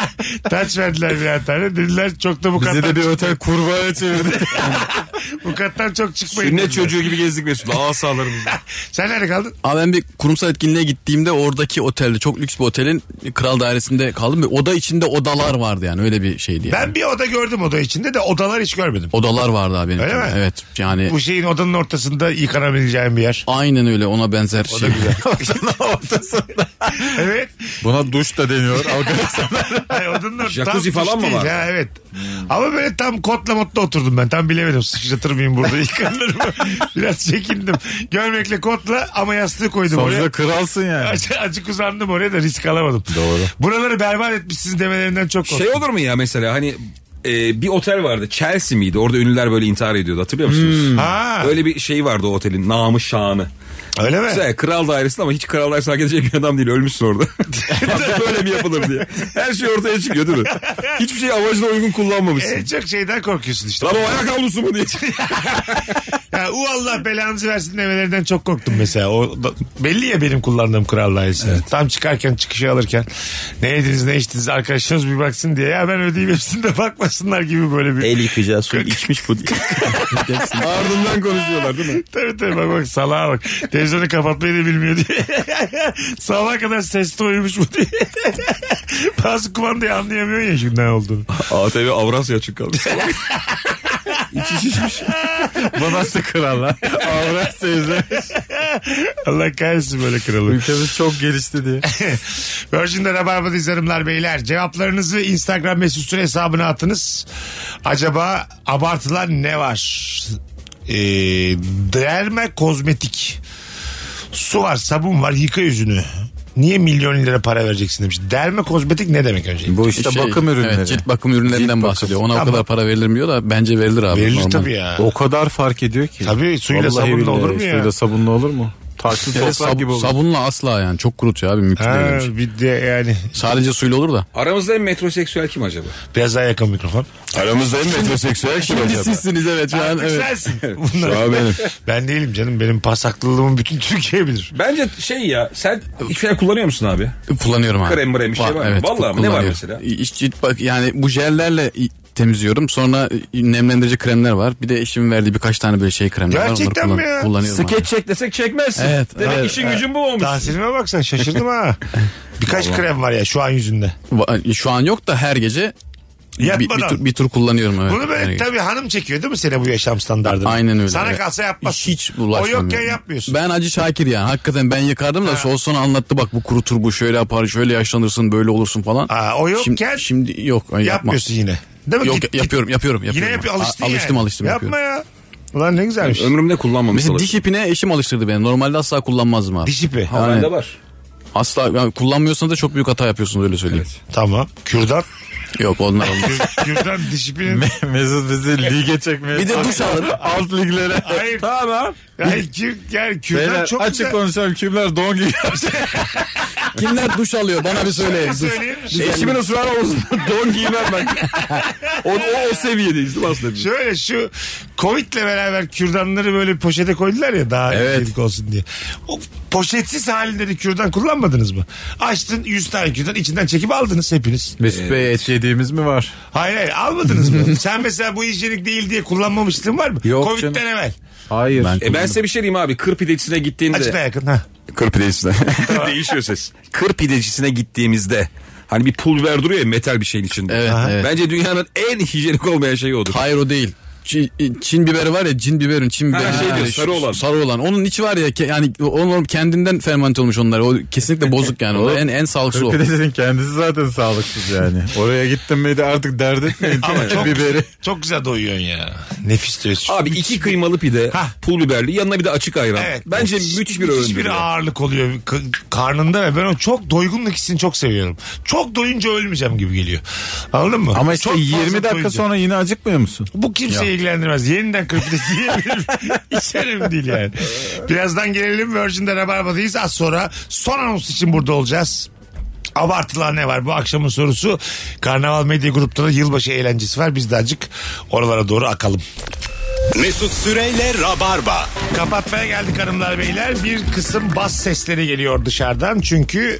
Speaker 1: taç verdiler birer tane. Dediler çok da bu
Speaker 3: Bizi
Speaker 1: kattan,
Speaker 3: de bir otel kurbağaya çevirdi.
Speaker 1: bu kattan çok çıkmayın.
Speaker 4: Sünnet
Speaker 1: dediler.
Speaker 4: çocuğu gibi gezdik Mesut'la asalarımızla.
Speaker 1: Sen nerede kaldın?
Speaker 7: Abi ben bir kurumsal etkinliğe gittiğimde oradaki otelde çok lüks bir otelin kral dairesinde kaldım. Ve oda içinde odalar vardı yani öyle bir şeydi yani.
Speaker 1: Ben bir oda gördüm oda içinde de odalar hiç görmedim.
Speaker 7: Odalar vardı abi benim.
Speaker 1: Öyle mi?
Speaker 7: Evet yani
Speaker 1: Bu şeyin odanın ortasında yıkanabileceğin bir yer.
Speaker 7: aynen öyle ona benzer şey.
Speaker 1: Evet.
Speaker 3: Buna duş da deniyor.
Speaker 1: Ay, odanın ortasında.
Speaker 4: Jacuzzi
Speaker 1: tam
Speaker 4: falan
Speaker 1: duş
Speaker 4: mı
Speaker 1: değil.
Speaker 4: var? Hmm.
Speaker 1: Ha, evet. Ama böyle tam kotla motla oturdum ben. Tam bilemedim sıçratır mıyım burada yıkanır mı? Biraz çekindim. Görmekle kotla ama yastığı koydum oraya.
Speaker 3: Sonuçta kralsın yani.
Speaker 1: Acı, acık uzandım oraya da risk alamadım. Doğru. Buraları berbat etmişsiniz demelerinden çok korktum.
Speaker 4: şey olur mu ya mesela hani e, bir otel vardı Chelsea miydi? Orada ünlüler böyle intihar ediyordu hatırlıyor musunuz?
Speaker 1: ha, öyle,
Speaker 4: Öyle bir şey vardı o otelin namı şanı.
Speaker 1: mi?
Speaker 4: Mesela kral dairesi ama hiç kral dairesi hak edecek bir adam değil ölmüşsün orada. Bak böyle mi yapılır diye. Her şey ortaya çıkıyor değil mi? Hiçbir şey amacına uygun kullanmamışsın.
Speaker 1: En E, çok şeyden korkuyorsun işte.
Speaker 4: Lan o ayak havlusu mu diye.
Speaker 1: Ya, u Allah belanızı versin demelerinden çok korktum mesela. O da- belli ya benim kullandığım kral dairesi. Tam çıkarken çıkışı alırken ne yediniz ne içtiniz arkadaşlarınız bir baksın diye. Ya ben ödeyeyim hepsini de bakmasınlar gibi böyle bir.
Speaker 10: El yıkayacağı su içmiş bu.
Speaker 4: Ardından konuşuyorlar değil mi?
Speaker 1: Tabii tabii bak bak salağa bak. Televizyonu kapatmayı da bilmiyor diye. Sabaha kadar sesli uyumuş mu diye. Bazı kumandayı anlayamıyor ya şimdi ne olduğunu.
Speaker 4: ATV Avrasya açık kalmış. İçi şişmiş.
Speaker 3: Bu nasıl kral lan? Avrasya izlemiş.
Speaker 1: Allah kahretsin böyle kralı.
Speaker 3: Ülkemiz çok gelişti diye.
Speaker 1: Virgin'de Rabarba'dayız hanımlar beyler. Cevaplarınızı Instagram mesut süre hesabına atınız. Acaba abartılan ne var? Ee, derme kozmetik. Su var sabun var yıka yüzünü. Niye milyon lira para vereceksin demiş. Derme kozmetik ne demek önce?
Speaker 3: Bu işte
Speaker 7: Şey,
Speaker 3: bakım ürünleri.
Speaker 7: Evet, cilt bakım ürünlerinden bahsediyor. Ona
Speaker 1: Tamam.
Speaker 7: o kadar para verilir mi diyor da bence verilir abi.
Speaker 1: Verilir
Speaker 7: normal.
Speaker 1: tabii ya.
Speaker 3: O kadar fark ediyor ki.
Speaker 1: Tabii suyla
Speaker 3: Vallahi
Speaker 1: sabunla
Speaker 3: billahi,
Speaker 1: olur mu ya?
Speaker 3: Suyla sabunla olur mu? Taşlı
Speaker 7: Evet,
Speaker 3: toprak
Speaker 7: sab-
Speaker 3: gibi olur.
Speaker 7: sabunla asla yani çok kurutuyor abi mümkün değil.
Speaker 1: Ha,
Speaker 7: öyle bir şey.
Speaker 1: bir de yani
Speaker 7: Sadece suyla olur da.
Speaker 4: Aramızda en metroseksüel kim acaba?
Speaker 1: biraz daha yakın mikrofon.
Speaker 10: Aramızda en metroseksüel kim acaba?
Speaker 7: Sizsiniz evet. Şu an, evet.
Speaker 1: Sensin. Bunlar-
Speaker 10: Şu an benim.
Speaker 1: Ben değilim canım. Benim pasaklılığımı bütün Türkiye bilir.
Speaker 4: Bence şey ya sen hiçbir şey kullanıyor musun abi?
Speaker 7: Kullanıyorum abi.
Speaker 4: Krem mrem bir şey var mı? Vallahi mi? Ne var
Speaker 7: kullanıyorum.
Speaker 4: mesela?
Speaker 7: İş- cilt bak yani bu jellerle i- temizliyorum. Sonra i- nemlendirici kremler var. Bir de eşimin verdiği birkaç tane böyle şey kremler var. Onları
Speaker 1: Gerçekten mi ya?
Speaker 7: Kullanıyorum abi.
Speaker 10: Skeç çek desek çekmezsin.
Speaker 7: Evet,
Speaker 10: Demek
Speaker 7: evet,
Speaker 10: işin gücün bu olmuş.
Speaker 1: Tahsinime bak sen şaşırdım ha. Birkaç krem var ya şu an yüzünde.
Speaker 7: Va- Şu an yok da her gece bir, bir,
Speaker 1: Yatmadan.
Speaker 7: tur, bir tur kullanıyorum. Evet,
Speaker 1: Bunu
Speaker 7: her
Speaker 1: böyle
Speaker 7: gece.
Speaker 1: tabii hanım çekiyor değil mi seni bu yaşam standartını?
Speaker 7: Aynen öyle.
Speaker 1: Sana
Speaker 7: Evet.
Speaker 1: kalsa yapmazsın.
Speaker 7: Hiç
Speaker 1: O
Speaker 7: bulaşmam.
Speaker 1: yokken
Speaker 7: yani.
Speaker 1: yapmıyorsun.
Speaker 7: Ben Hacı Şakir yani. Hakikaten ben yıkardım da o sonra anlattı bak bu kurutur bu şöyle yapar şöyle yaşlanırsın böyle olursun falan.
Speaker 1: Aa, o yokken
Speaker 7: Şimdi, şimdi yok ay, yapma.
Speaker 1: yapmıyorsun yine. Değil mi?
Speaker 7: Yok
Speaker 1: Git-
Speaker 7: yapıyorum yapıyorum.
Speaker 1: Yine
Speaker 7: yapıyorum.
Speaker 1: yapıyor
Speaker 7: A-
Speaker 1: alıştın
Speaker 7: Alıştım
Speaker 1: yani.
Speaker 7: alıştım yapıyorum.
Speaker 1: Yapma ya. Ulan ne güzelmiş.
Speaker 4: Ömrümde kullanmamış
Speaker 7: Mesela
Speaker 4: olabilirim.
Speaker 7: diş ipine eşim alıştırdı beni. Normalde asla kullanmazdım abi.
Speaker 1: Diş ipi.
Speaker 4: Ha, bende
Speaker 7: Yani
Speaker 4: var.
Speaker 7: Asla yani kullanmıyorsanız da çok büyük hata yapıyorsunuz öyle söyleyeyim.
Speaker 1: Tamam. Kürdan.
Speaker 7: Yok onlar olmaz.
Speaker 1: Kür- Kürdan diş ipinin.
Speaker 3: Mesut bizi lige çekmeye
Speaker 7: Bir de duş alın.
Speaker 3: Alt liglere.
Speaker 1: Hayır.
Speaker 3: Tamam.
Speaker 1: Yani, kür, yani kürdan
Speaker 3: Beyler
Speaker 1: çok
Speaker 3: açık
Speaker 1: güzel.
Speaker 3: konuşalım kimler don giyiyor.
Speaker 7: Kimler duş alıyor bana bir söyleyin. Duş.
Speaker 1: Söyleyeyim mi?
Speaker 4: Eşimin ısrarı olsun. Don giymem ben. o, o, o seviyedeyiz değil mi aslında? biz?
Speaker 1: Şöyle şu Covid'le beraber kürdanları böyle poşete koydular ya daha evet. olsun diye. O poşetsiz halinde de kürdan kullanmadınız mı? Açtın 100 tane kürdan içinden çekip aldınız hepiniz.
Speaker 3: Mesut Bey et yediğimiz mi var?
Speaker 1: Hayır hayır almadınız mı? Sen mesela bu hijyenik değil diye kullanmamıştın var mı?
Speaker 3: Yok
Speaker 1: Covid'den
Speaker 3: canım.
Speaker 1: evvel.
Speaker 3: Hayır.
Speaker 4: E ben size bir şey diyeyim abi. Kır pidecisine
Speaker 1: Açına
Speaker 4: gittiğinde.
Speaker 1: yakın ha.
Speaker 4: Kır pidecisine. Değişiyor ses. Kır pidecisine gittiğimizde. Hani bir pul biber duruyor ya metal bir şeyin içinde.
Speaker 7: Evet,
Speaker 4: Aha.
Speaker 7: evet.
Speaker 4: Bence dünyanın en hijyenik olmayan şeyi odur.
Speaker 7: Hayır o değil. Çin, Çin biberi var ya cin biberin Çin
Speaker 4: Ha,
Speaker 7: biberi.
Speaker 4: şey diyor,
Speaker 7: Yani şu-
Speaker 4: sarı olan.
Speaker 7: Sarı olan. Onun içi var ya ke- yani onun kendinden fermente olmuş onlar. O kesinlikle bozuk yani. O da en en sağlıksız o.
Speaker 3: Pidesinin kendisi zaten sağlıksız yani. Oraya gittin miydi artık dert etmeyin.
Speaker 1: Ama çok,
Speaker 3: Biberi.
Speaker 1: çok güzel doyuyorsun ya. Nefis diyorsun.
Speaker 4: Abi iki kıymalı pide,
Speaker 1: Hah.
Speaker 4: pul biberli, yanına bir de açık ayran.
Speaker 1: Evet.
Speaker 4: Bence müthiş bir öğündür.
Speaker 1: Müthiş bir
Speaker 4: ya.
Speaker 1: ağırlık oluyor k- karnında ve ben o çok doygunluk hissini çok seviyorum. Çok doyunca ölmeyeceğim gibi geliyor. Anladın mı?
Speaker 3: Ama işte
Speaker 1: Çok fazla
Speaker 3: 20 dakika
Speaker 1: doyunca.
Speaker 3: sonra yine acıkmıyor musun?
Speaker 1: Bu kimseyi ilgilendirmez. Yeniden kırpıda diyebilirim. Hiç önemli değil yani. Birazdan gelelim Virgin'de Rabarba'dayız. Az sonra son anons için burada olacağız. Abartılan ne var? Bu akşamın sorusu Karnaval Medya Grup'ta da yılbaşı eğlencesi var. Biz de acık oralara doğru akalım.
Speaker 9: Mesut Süreyle Rabarba.
Speaker 1: Kapatmaya geldik hanımlar beyler. Bir kısım bas sesleri geliyor dışarıdan. Çünkü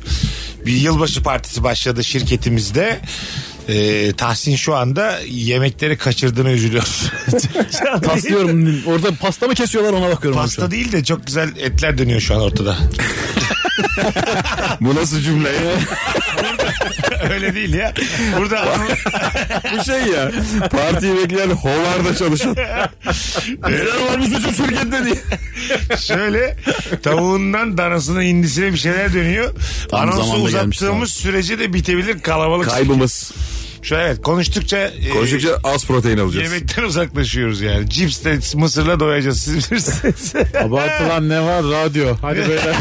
Speaker 1: bir yılbaşı partisi başladı şirketimizde. Ee, Tahsin şu anda yemekleri kaçırdığını üzülüyor.
Speaker 7: Paslıyorum. Orada pasta mı kesiyorlar ona bakıyorum. şu an.
Speaker 1: Pasta değil de çok güzel etler dönüyor şu an ortada.
Speaker 4: Bu nasıl cümle ya?
Speaker 1: Öyle değil ya. Burada
Speaker 4: Bu şey ya. Partiyi bekleyen hovarda çalışan. Neler varmış bizim şirkette diye.
Speaker 1: şöyle tavuğundan danasına indisine bir şeyler dönüyor.
Speaker 7: Tam
Speaker 1: Anonsu
Speaker 7: zamanda gelmiş, tamam.
Speaker 1: uzattığımız sürece de bitebilir kalabalık.
Speaker 4: Kaybımız.
Speaker 1: Şu evet konuştukça, e,
Speaker 4: Konuştukça az protein alacağız.
Speaker 1: yemekten uzaklaşıyoruz yani. Cips de mısırla doyacağız siz bilirsiniz.
Speaker 3: Abartılan ne var? Radyo. Hadi beyler.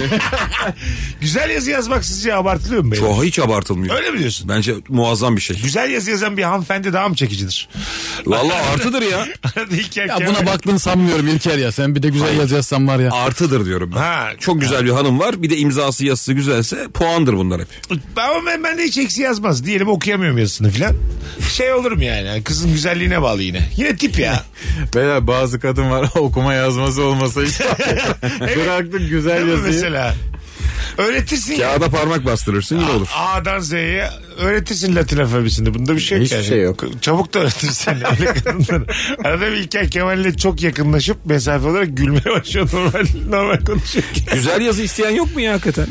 Speaker 1: Güzel yazı yazmak sizce abartılıyor mu? beyler?
Speaker 4: Çok hiç abartılmıyor.
Speaker 1: Öyle mi diyorsun?
Speaker 4: Bence muazzam bir şey.
Speaker 1: Güzel yazı yazan bir hanımefendi daha mı çekicidir?
Speaker 4: Vallahi artıdır ya.
Speaker 1: İlk
Speaker 7: Ya
Speaker 1: erkeğe-
Speaker 7: buna baktığını sanmıyorum İlker ya. Sen bir de güzel yazı yazsan var ya.
Speaker 4: Artıdır diyorum ben.
Speaker 1: Ha.
Speaker 4: Çok güzel bir hanım var. Bir de imzası yazısı güzelse puandır bunlar hep.
Speaker 1: Ama ben, ben de hiç eksi yazmaz. Diyelim okuyamıyorum yazısını filan. Şey olurum yani. Kızın güzelliğine bağlı yine. Yine tip ya.
Speaker 3: Beyler bazı kadın var okuma yazması olmasa hiç. Bıraktık güzel
Speaker 1: Değil mi
Speaker 3: yazıyı.
Speaker 1: mesela? Öğretirsin ya.
Speaker 4: Kağıda parmak bastırırsın yine olur.
Speaker 1: A'dan Z'ye öğretirsin Latin alfabesini. Bunda bir şey yok
Speaker 3: Hiçbir
Speaker 1: yani.
Speaker 3: şey yok.
Speaker 1: Çabuk da öğretirsin. öyle kadınları. Arada bir İlker Kemal'le çok yakınlaşıp mesafe olarak gülmeye başlıyor normal, normal konuşurken.
Speaker 4: Güzel yazı isteyen yok mu ya hakikaten?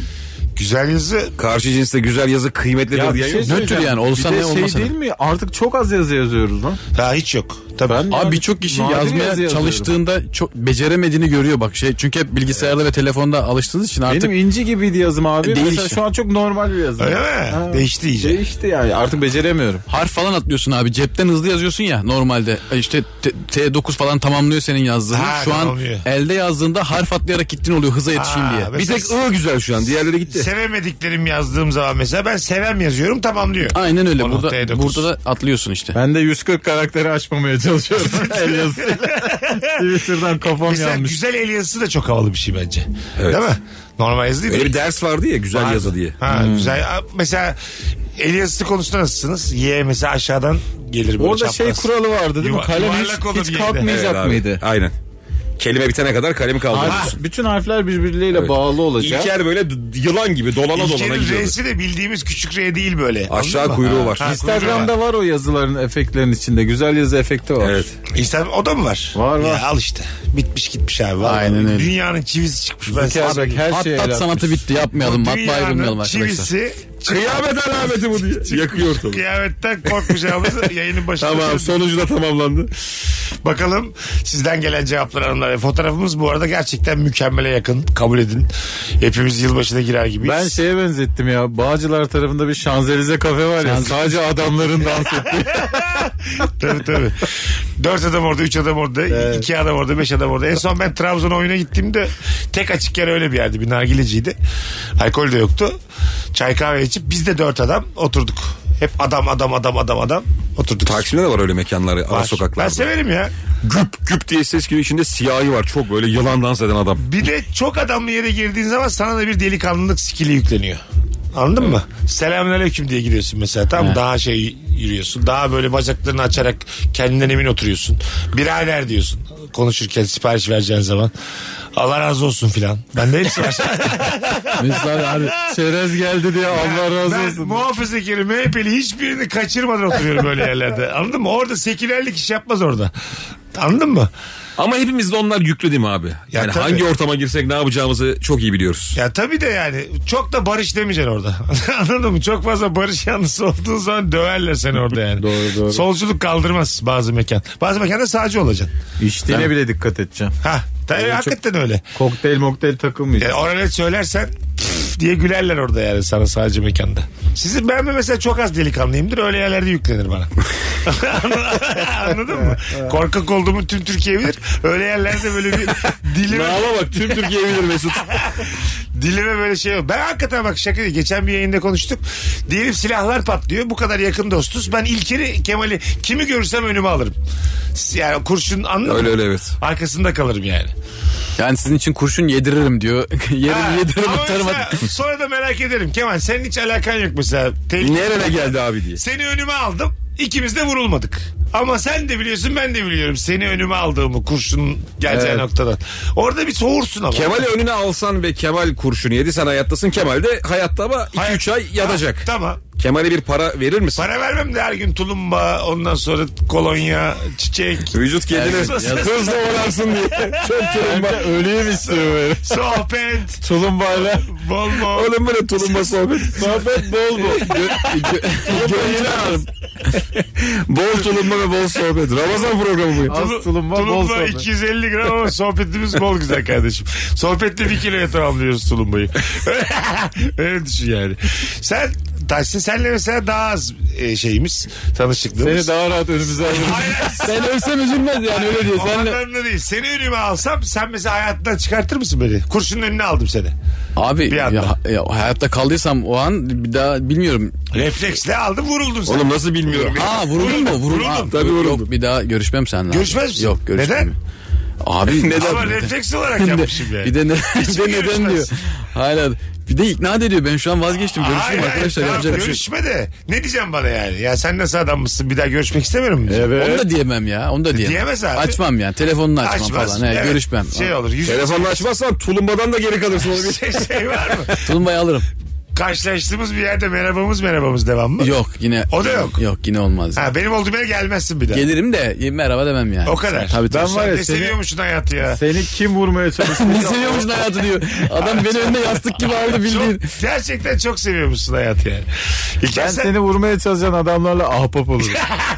Speaker 1: Güzel yazı
Speaker 4: Karşı cinste güzel yazı kıymetlidir
Speaker 3: Ya bir
Speaker 4: diyen
Speaker 3: şey
Speaker 4: yok.
Speaker 3: söyleyeceğim.
Speaker 7: yani, olsa
Speaker 3: bir
Speaker 7: ne,
Speaker 3: de şey
Speaker 7: olmasa ne?
Speaker 3: değil mi? Artık çok az yazı yazıyoruz lan.
Speaker 1: daha hiç yok. Tabii.
Speaker 7: Abi birçok kişi
Speaker 3: nadir yazı
Speaker 7: yazmaya
Speaker 3: yazıyorum.
Speaker 7: çalıştığında çok beceremediğini görüyor bak şey. Çünkü hep bilgisayarda ve telefonda alıştığınız için artık
Speaker 3: Benim inci gibiydi yazım abi.
Speaker 7: Değişti.
Speaker 3: Mesela şu an çok normal bir yazım.
Speaker 1: Öyle mi? Değişti iyice.
Speaker 3: Değişti yani. Artık beceremiyorum.
Speaker 7: harf falan atlıyorsun abi. Cepten hızlı yazıyorsun ya normalde. E İşte T- T9 falan tamamlıyor senin yazdığını.
Speaker 1: Ha,
Speaker 7: Şu an
Speaker 1: tamamlıyor.
Speaker 7: elde yazdığında harf atlayarak gittin oluyor hıza yetişeyim
Speaker 1: Ha,
Speaker 7: diye.
Speaker 1: be-
Speaker 4: Bir tek ı güzel şu an. Diğerleri gitti.
Speaker 1: Sevemediklerim yazdığım zaman mesela ben sevem yazıyorum tamam diyor.
Speaker 7: Aynen öyle.
Speaker 1: O noktaya
Speaker 7: Burada,
Speaker 1: dokuz.
Speaker 7: burada da atlıyorsun işte.
Speaker 3: Ben de 140 karakteri açmamaya çalışıyorum. El yazısıyla. Twitter'dan kafam
Speaker 1: Mesela
Speaker 3: yanmış.
Speaker 1: güzel el yazısı da çok havalı bir şey bence. Değil mi? Normal yazı değil.
Speaker 4: Öyle
Speaker 1: de.
Speaker 4: bir ders vardı ya güzel yazı diye.
Speaker 1: Ha, güzel. A- Mesela el yazısı konusunda nasılsınız? Y mesela aşağıdan gelir böyle
Speaker 3: Orada şey
Speaker 1: çapraz.
Speaker 3: kuralı vardı değil mi?
Speaker 1: Yuva-
Speaker 3: Kalem
Speaker 1: yuvarlak olur
Speaker 3: hiç, hiç
Speaker 1: yerde.
Speaker 3: kalkmayacak
Speaker 4: Evet abi.
Speaker 3: mıydı?
Speaker 4: Aynen. Kelime bitene kadar kalemi
Speaker 3: Ha,
Speaker 4: kaldırıyorsun.
Speaker 3: bütün harfler birbirleriyle
Speaker 4: Evet.
Speaker 3: bağlı olacak.
Speaker 4: İlker böyle d- yılan gibi dolana dolana
Speaker 1: İlker'in
Speaker 4: gidiyordu.
Speaker 1: R'si de bildiğimiz küçük R değil böyle.
Speaker 4: Aşağı
Speaker 1: Anladın mı?
Speaker 4: kuyruğu var.
Speaker 1: Ha,
Speaker 3: Instagram'da var o yazıların efektlerin içinde. Güzel yazı efekti var.
Speaker 4: Evet.
Speaker 1: İnsan o da mı var?
Speaker 3: Var, var.
Speaker 1: Ya al işte. Bitmiş gitmiş abi. Vallahi
Speaker 7: Aynen öyle.
Speaker 1: Dünyanın çivisi çıkmış. Ben
Speaker 3: Züker
Speaker 1: sana
Speaker 3: Bey,
Speaker 1: söyleyeyim.
Speaker 3: her şeye el
Speaker 7: Atlat sanatı bitti yapmayalım. Matbaayı bulmayalım
Speaker 1: Dünyanın
Speaker 7: arkadaşlar.
Speaker 1: çivisi
Speaker 4: Kıyamet alameti bu diye. Yakıyor tabii.
Speaker 1: kıyametten korkmayacağımız yayının başında.
Speaker 4: Tamam
Speaker 1: söyledik.
Speaker 4: sonucu da tamamlandı.
Speaker 1: Bakalım sizden gelen cevaplar hanımlar. Fotoğrafımız bu arada gerçekten mükemmele yakın. Kabul edin. Hepimiz yılbaşına girer gibiyiz.
Speaker 3: Ben şeye benzettim ya. Bağcılar tarafında bir Şanzelize kafe var ya. Sadece adamların dans ettiği.
Speaker 1: tabii tabii. Dört adam orada, üç adam orada, iki adam orada, beş adam orada. En son ben Trabzon oyuna gittiğimde tek açık yer öyle bir yerdi. Bir nargileciydi. Alkol de yoktu. Çay kahve içip biz de dört adam oturduk. Hep adam adam adam adam adam oturduk.
Speaker 4: Taksim'de de var öyle mekanlar
Speaker 1: Var.
Speaker 4: ara
Speaker 1: Ben
Speaker 4: sokaklarda.
Speaker 1: severim ya.
Speaker 4: Güp güp diye ses geliyor içinde siyahi var çok böyle yılan dans eden adam.
Speaker 1: Bir de çok adamlı yere girdiğin zaman sana da bir delikanlılık skili yükleniyor. Anladın mı? Selamünaleyküm diye giriyorsun mesela. Tamam mı? Daha şey yürüyorsun. Daha böyle bacaklarını açarak kendinden emin oturuyorsun. Birader diyorsun. Konuşurken sipariş vereceğin zaman. Allah razı olsun filan. Bende hepsi var.
Speaker 3: Mesela abi çerez geldi diye Allah razı
Speaker 1: ben
Speaker 3: olsun.
Speaker 1: muhafazakar MHP'li hiçbirini kaçırmadan oturuyorum böyle yerlerde. Anladın mı? Orada sekülerlik iş yapmaz orada. Anladın mı?
Speaker 4: Ama hepimiz de onlar yüklü değil mi abi? Yani
Speaker 1: tabii.
Speaker 4: hangi ortama girsek ne yapacağımızı çok iyi biliyoruz.
Speaker 1: Ya tabii de yani çok da barış demeyeceksin orada. Anladın mı? Çok fazla barış yanlısı olduğun zaman döverler seni orada yani.
Speaker 3: Doğru, doğru.
Speaker 1: Solculuk kaldırmaz bazı mekan. Bazı mekanda sağcı olacaksın.
Speaker 3: İçtiğine bile dikkat edeceğim.
Speaker 1: Ha, tabii hakikaten öyle.
Speaker 3: Kokteyl mokteyl takılmayacak.
Speaker 1: Yani oralet söylersen diye gülerler orada yani sana sadece mekanda. Sizin ben mi mesela çok az delikanlıyımdır öyle yerlerde yüklenir bana. Anladın mı? Korkak olduğumu tüm Türkiye bilir. Öyle yerlerde böyle bir dilime,
Speaker 4: Ama bak tüm Türkiye bilir Mesut.
Speaker 1: dilime böyle şey yok. Ben hakikaten bak şaka değil. Geçen bir yayında konuştuk. Diyelim silahlar patlıyor. Bu kadar yakın dostuz. Ben İlker'i Kemal'i kimi görürsem önüme alırım. Yani kurşun anladın
Speaker 4: Öyle
Speaker 1: mı?
Speaker 4: öyle evet.
Speaker 1: Arkasında kalırım yani.
Speaker 7: Yani sizin için kurşun yediririm diyor.
Speaker 1: Ha,
Speaker 7: Yerim yediririm
Speaker 1: ama
Speaker 7: atarım.
Speaker 1: mesela sonra da merak ederim. Kemal senin hiç alakan yok mesela. Tehlike-
Speaker 4: Nereye geldi abi diye.
Speaker 1: Seni önüme aldım. İkimiz de vurulmadık. Ama sen de biliyorsun ben de biliyorum. Seni önüme aldığımı kurşun geleceği noktadan. Orada bir soğursun ama.
Speaker 4: Kemal'i önüne alsan ve Kemal kurşunu yedi sen hayattasın. Kemal de hayatta ama
Speaker 1: Hayır.
Speaker 4: 2-3 ay yatacak.
Speaker 1: Tamam.
Speaker 4: Kemal'e bir para verir misin?
Speaker 1: Para vermem de her gün tulumba ondan sonra kolonya, çiçek,
Speaker 4: Vücut kendini hızlı olansın diye. Çok tulumba.
Speaker 3: Öleyim istiyor böyle.
Speaker 1: sohbet,
Speaker 3: Tulumbayla.
Speaker 1: bol bol.
Speaker 4: Oğlum böyle tulumba sohbet.
Speaker 3: Sohbet bol bol.
Speaker 4: Gönlünü alırım. bol tulumba ve bol sohbet. Ramazan programı bu.
Speaker 3: Az tulumba, bol
Speaker 1: Tulumba
Speaker 3: sohbet.
Speaker 1: 250 gram ama sohbetimiz bol güzel kardeşim. Sohbetle bir kiloya tamamlıyoruz tulumbayı. Öyle düşün yani. Sen Taşsın senle mesela daha az e, şeyimiz tanışıklığımız.
Speaker 3: Seni daha rahat önümüze alırım.
Speaker 1: Hayır,
Speaker 7: Ben ölsem üzülmez yani öyle diyor.
Speaker 1: O anlamda değil. Seni önüme alsam sen mesela hayatından çıkartır mısın beni? Kurşunun önüne aldım seni.
Speaker 7: Abi
Speaker 1: Bir anda.
Speaker 7: ya, ya hayatta kaldıysam o an bir daha bilmiyorum.
Speaker 1: Refleksle aldım vuruldun sen.
Speaker 4: Oğlum nasıl bilmiyorum.
Speaker 7: Aa vuruldun mu? Vuruldum.
Speaker 1: Vuruldum.
Speaker 7: Aa, Tabii vuruldum. Yok bir daha görüşmem seninle. abi.
Speaker 1: Görüşmez misin?
Speaker 7: Yok görüşmem.
Speaker 1: Neden?
Speaker 7: Abi
Speaker 1: Ama
Speaker 7: Abi,
Speaker 1: refleks olarak yapmışım yani.
Speaker 7: Bir de, ne, bir de neden
Speaker 1: görüşmez.
Speaker 7: diyor. Hala bir de ikna da ediyor. Ben şu an vazgeçtim.
Speaker 1: Hayır,
Speaker 7: Görüşürüm
Speaker 1: hayır,
Speaker 7: arkadaşlar.
Speaker 1: tamam,
Speaker 7: yapacak bir şey. yok.
Speaker 1: görüşme de. Ne diyeceğim bana yani? Ya sen nasıl adam mısın? Bir daha görüşmek istemiyorum mu?
Speaker 7: Onu
Speaker 3: Evet.
Speaker 7: da diyemem ya. Onu da diyemem.
Speaker 1: Diyemez abi.
Speaker 7: Açmam yani. Telefonunu açmam
Speaker 1: E, Açmaz.
Speaker 7: falan. He,
Speaker 1: Evet.
Speaker 7: Görüşmem.
Speaker 1: Şey olur. Yüz...
Speaker 4: Telefonla açmazsan tulumbadan da geri kalırsın. oğlum.
Speaker 1: şey, şey var mı?
Speaker 7: Tulumbayı alırım.
Speaker 1: Karşılaştığımız bir yerde merhabamız merhabamız devam mı?
Speaker 7: Yok yine.
Speaker 1: O da yok.
Speaker 7: Yok yine olmaz.
Speaker 1: Ha, benim olduğum yere gelmezsin bir daha.
Speaker 7: Gelirim de e, merhaba demem yani.
Speaker 1: O kadar.
Speaker 7: Tabii tabii.
Speaker 3: Ben var ya
Speaker 1: Ne
Speaker 3: seni-
Speaker 1: seviyormuşsun hayatı ya.
Speaker 3: Seni kim vurmaya
Speaker 7: Ne
Speaker 3: çalıştı?
Speaker 7: seviyormuşsun hayatı diyor. Adam beni önüne yastık gibi aldı bildiğin.
Speaker 1: Çok, gerçekten çok seviyormuşsun hayatı yani.
Speaker 3: ben
Speaker 1: İlker sen-
Speaker 3: seni vurmaya çalışan adamlarla ahbap olurum.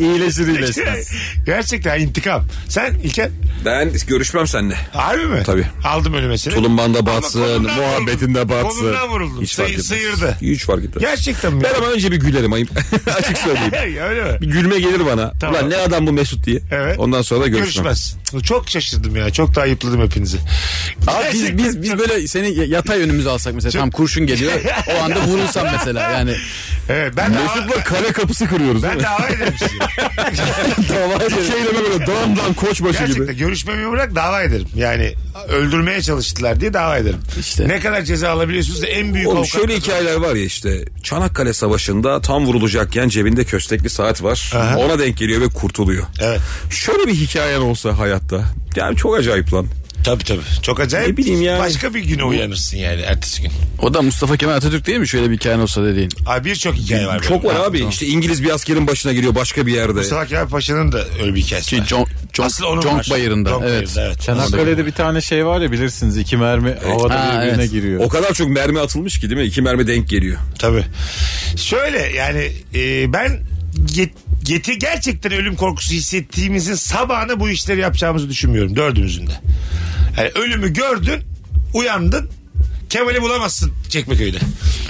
Speaker 3: İyileşir iyileşmez.
Speaker 1: Gerçekten intikam. Sen İlker
Speaker 4: Ben görüşmem seninle.
Speaker 1: harbi mi?
Speaker 4: Tabii.
Speaker 1: Aldım önüme seni.
Speaker 4: Tulumban da
Speaker 1: Ama
Speaker 4: batsın,
Speaker 1: kolundan
Speaker 4: muhabbetin de
Speaker 1: vuruldum.
Speaker 4: batsın.
Speaker 1: Kolundan vuruldum.
Speaker 4: Hiç fark
Speaker 1: Sı-
Speaker 4: etmez.
Speaker 1: sıyırdı.
Speaker 4: Hiç fark etmez.
Speaker 1: Gerçekten mi?
Speaker 4: Ben ama önce bir gülerim ayıp. Açık söyleyeyim.
Speaker 1: Öyle mi?
Speaker 4: Bir gülme gelir bana.
Speaker 1: Tamam.
Speaker 4: Ulan ne adam bu Mesut diye.
Speaker 1: Evet.
Speaker 4: Ondan sonra da görüşmem.
Speaker 1: Görüşmez. Çok şaşırdım ya. Çok da ayıpladım hepinizi.
Speaker 7: Abi biz, biz, biz böyle seni yatay önümüze alsak mesela. Tam kurşun geliyor. O anda vurulsam mesela yani.
Speaker 1: Evet, ben de
Speaker 4: Mesut'la kale kapısı kırıyoruz.
Speaker 1: ben dava ederim sizi.
Speaker 4: Dava Dikeyle böyle dam dam koçbaşı gibi.
Speaker 1: Gerçekten görüşmemeyi bırak dava ederim. Yani öldürmeye çalıştılar diye dava ederim.
Speaker 7: İşte.
Speaker 1: Ne kadar ceza alabiliyorsunuz da en büyük
Speaker 4: Oğlum
Speaker 1: avukat-
Speaker 4: şöyle hikayeler var ya işte Çanakkale Savaşı'nda tam vurulacakken cebinde köstekli saat var.
Speaker 1: Aha.
Speaker 4: Ona denk geliyor ve kurtuluyor.
Speaker 1: Evet.
Speaker 4: Şöyle bir hikayen olsa hayatta. Yani çok acayip lan.
Speaker 1: Tabii tabii. Çok acayip.
Speaker 4: Ne bileyim yani.
Speaker 1: Başka bir güne uyanırsın yani ertesi gün.
Speaker 7: O da Mustafa Kemal Atatürk değil mi? Şöyle bir hikayen olsa dediğin.
Speaker 1: Abi birçok hikaye var.
Speaker 4: Çok var abi. İşte İngiliz bir askerin başına giriyor başka bir yerde.
Speaker 1: Mustafa Kemal Paşa'nın da öyle bir hikayesi
Speaker 7: Şey,
Speaker 1: var.
Speaker 7: Con, Con,
Speaker 1: Aslı onun var.
Speaker 7: Conk bayırında.
Speaker 1: Conk
Speaker 7: evet.
Speaker 1: bayırında, evet.
Speaker 3: Çanakkale'de bir tane şey var ya bilirsiniz iki mermi havada
Speaker 7: Ha,
Speaker 3: birbirine
Speaker 7: evet.
Speaker 3: giriyor.
Speaker 4: O kadar çok mermi atılmış ki değil mi? İki mermi denk geliyor.
Speaker 1: Tabii. Şöyle yani e, ben yet, yeti gerçekten ölüm korkusu hissettiğimizin sabahına bu işleri yapacağımızı düşünmüyorum dördümüzün de. Yani ölümü gördün, uyandın, Kemal'i bulamazsın Çekmeköy'de.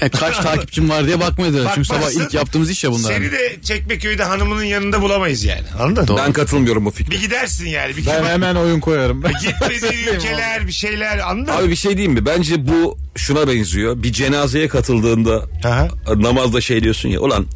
Speaker 7: E, kaç takipçim var diye bakmıyorlar. Çünkü sabah
Speaker 1: Bakmazsın.
Speaker 7: ilk yaptığımız iş ya bunlar.
Speaker 1: Seni de Çekmeköy'de hanımının yanında bulamayız yani. Anladın mı?
Speaker 4: Ben katılmıyorum bu fikre.
Speaker 1: Bir gidersin yani. Bir
Speaker 3: Ben
Speaker 1: kime-
Speaker 3: hemen oyun koyarım.
Speaker 1: gitmediği ülkeler bir şeyler anladın mı?
Speaker 4: Abi bir şey diyeyim mi? Bence bu şuna benziyor. Bir cenazeye katıldığında
Speaker 1: Aha.
Speaker 4: namazda şey diyorsun ya. Ulan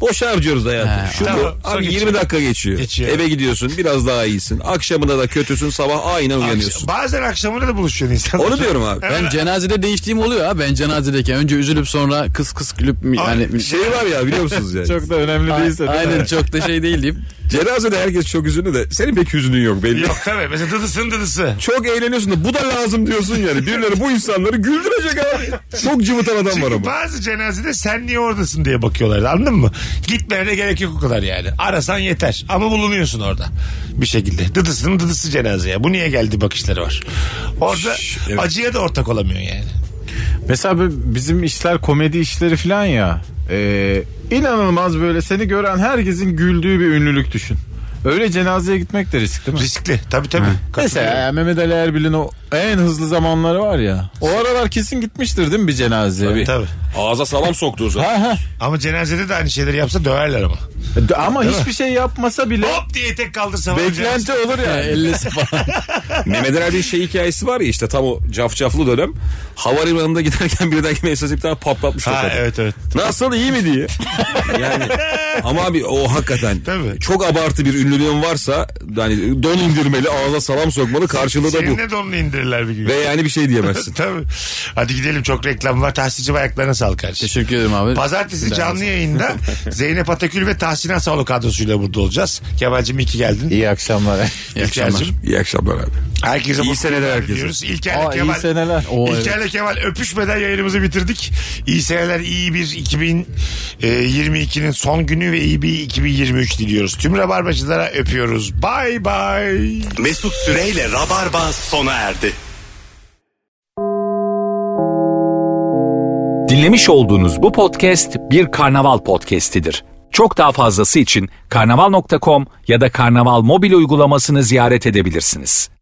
Speaker 4: Boş harcıyoruz hayatım.
Speaker 7: He,
Speaker 4: Şu
Speaker 1: tamam.
Speaker 4: bu.
Speaker 1: Sonra
Speaker 4: Abi 20
Speaker 1: geçiyor.
Speaker 4: dakika geçiyor.
Speaker 1: Geçiyor.
Speaker 4: Eve gidiyorsun biraz daha iyisin. Akşamında da kötüsün sabah aynen uyanıyorsun.
Speaker 1: Bazen akşamına da buluşuyor insan.
Speaker 4: Onu diyorum abi.
Speaker 7: Ben cenazede değiştiğim oluyor ha. Ben cenazedeyken önce üzülüp sonra kıs kıs gülüp mi
Speaker 1: Ay,
Speaker 7: yani
Speaker 4: Şey var ya biliyor musunuz yani.
Speaker 3: Çok da önemli değilse. değil mi?
Speaker 7: aynen çok da şey değil deyip
Speaker 4: Cenazede herkes çok üzünlü de senin pek hüznün yok belli.
Speaker 1: Yok tabii. Mesela dıdısın dıdısı.
Speaker 4: Çok eğleniyorsun da bu da lazım diyorsun yani. Birileri bu insanları güldürecek abi. Çok cıvıtan adam var
Speaker 1: Çünkü
Speaker 4: ama.
Speaker 1: bazı cenazede sen niye oradasın diye bakıyorlar anladın mı? Gitmene de gerek yok o kadar yani. Arasan yeter ama bulunuyorsun orada bir şekilde. Dıdısının dıdısı cenazeye. Bu niye geldi bakışları var. Orada
Speaker 4: evet.
Speaker 1: acıya da ortak olamıyorsun yani.
Speaker 3: Mesela böyle bizim işler komedi işleri falan ya. Ee, inanılmaz böyle seni gören herkesin güldüğü bir ünlülük düşün. Öyle cenazeye gitmek de risk değil mi?
Speaker 1: Riskli tabii tabii. Katılıyorum.
Speaker 3: Mesela e, Mehmet Ali Erbil'in o en hızlı zamanları var ya. O aralar kesin gitmiştir değil mi bir cenazeye?
Speaker 1: Tabii.
Speaker 4: Ağza salam soktuğu zaman.
Speaker 3: Ha, ha.
Speaker 1: Ama cenazede de aynı şeyleri yapsa döverler ama.
Speaker 3: D- Ama hiçbir şey yapmasa bile
Speaker 1: Hop diye tek kaldırsa.
Speaker 3: beklenti olur ya.
Speaker 7: ellesi falan.
Speaker 4: Mehmet Ali Erbil'in şey hikayesi var ya işte tam o cafcaflı dönem. Havalimanında giderken birden mesaj bir tane patlatmış.
Speaker 1: Ha
Speaker 4: Ha,
Speaker 1: evet evet.
Speaker 4: Nasıl iyi mi diye. yani ama abi o hakikaten
Speaker 1: Tabii.
Speaker 4: çok abartı bir ünlülüğün varsa yani don indirmeli ağza salam sokmalı karşılığı da bu.
Speaker 1: Seninle de onu indirirler bir gün.
Speaker 4: Ve yani bir şey diyemezsin.
Speaker 1: Tabii. Hadi gidelim çok reklam var. Tahsilcim ayaklarına sağlık kardeşim.
Speaker 7: Teşekkür ederim abi.
Speaker 1: Pazartesi canlı yayında Zeynep Atakül ve Tahsin Asaoğlu kadrosuyla burada olacağız. Kemal'cim iyi ki geldin.
Speaker 3: İyi akşamlar.
Speaker 7: İyi akşamlar.
Speaker 1: İlker'cim.
Speaker 4: İyi akşamlar abi.
Speaker 1: Herkese
Speaker 4: İyi
Speaker 1: mutlu
Speaker 4: seneler
Speaker 1: günler
Speaker 4: herkese.
Speaker 1: diliyoruz. İlker'le
Speaker 3: Aa, iyi
Speaker 1: Kemal.
Speaker 3: seneler. Oo, evet.
Speaker 1: İlker'le Kemal öpüşmeden yayınımızı bitirdik. İyi seneler, iyi bir 2022'nin son günü ve iyi bir 2023 diliyoruz. Tüm rabarbacılara öpüyoruz. Bay bay.
Speaker 9: Mesut Süreyle Rabarba sona erdi.
Speaker 11: Dinlemiş olduğunuz bu podcast bir karnaval podcastidir. Çok daha fazlası için karnaval.com ya da karnaval mobil uygulamasını ziyaret edebilirsiniz.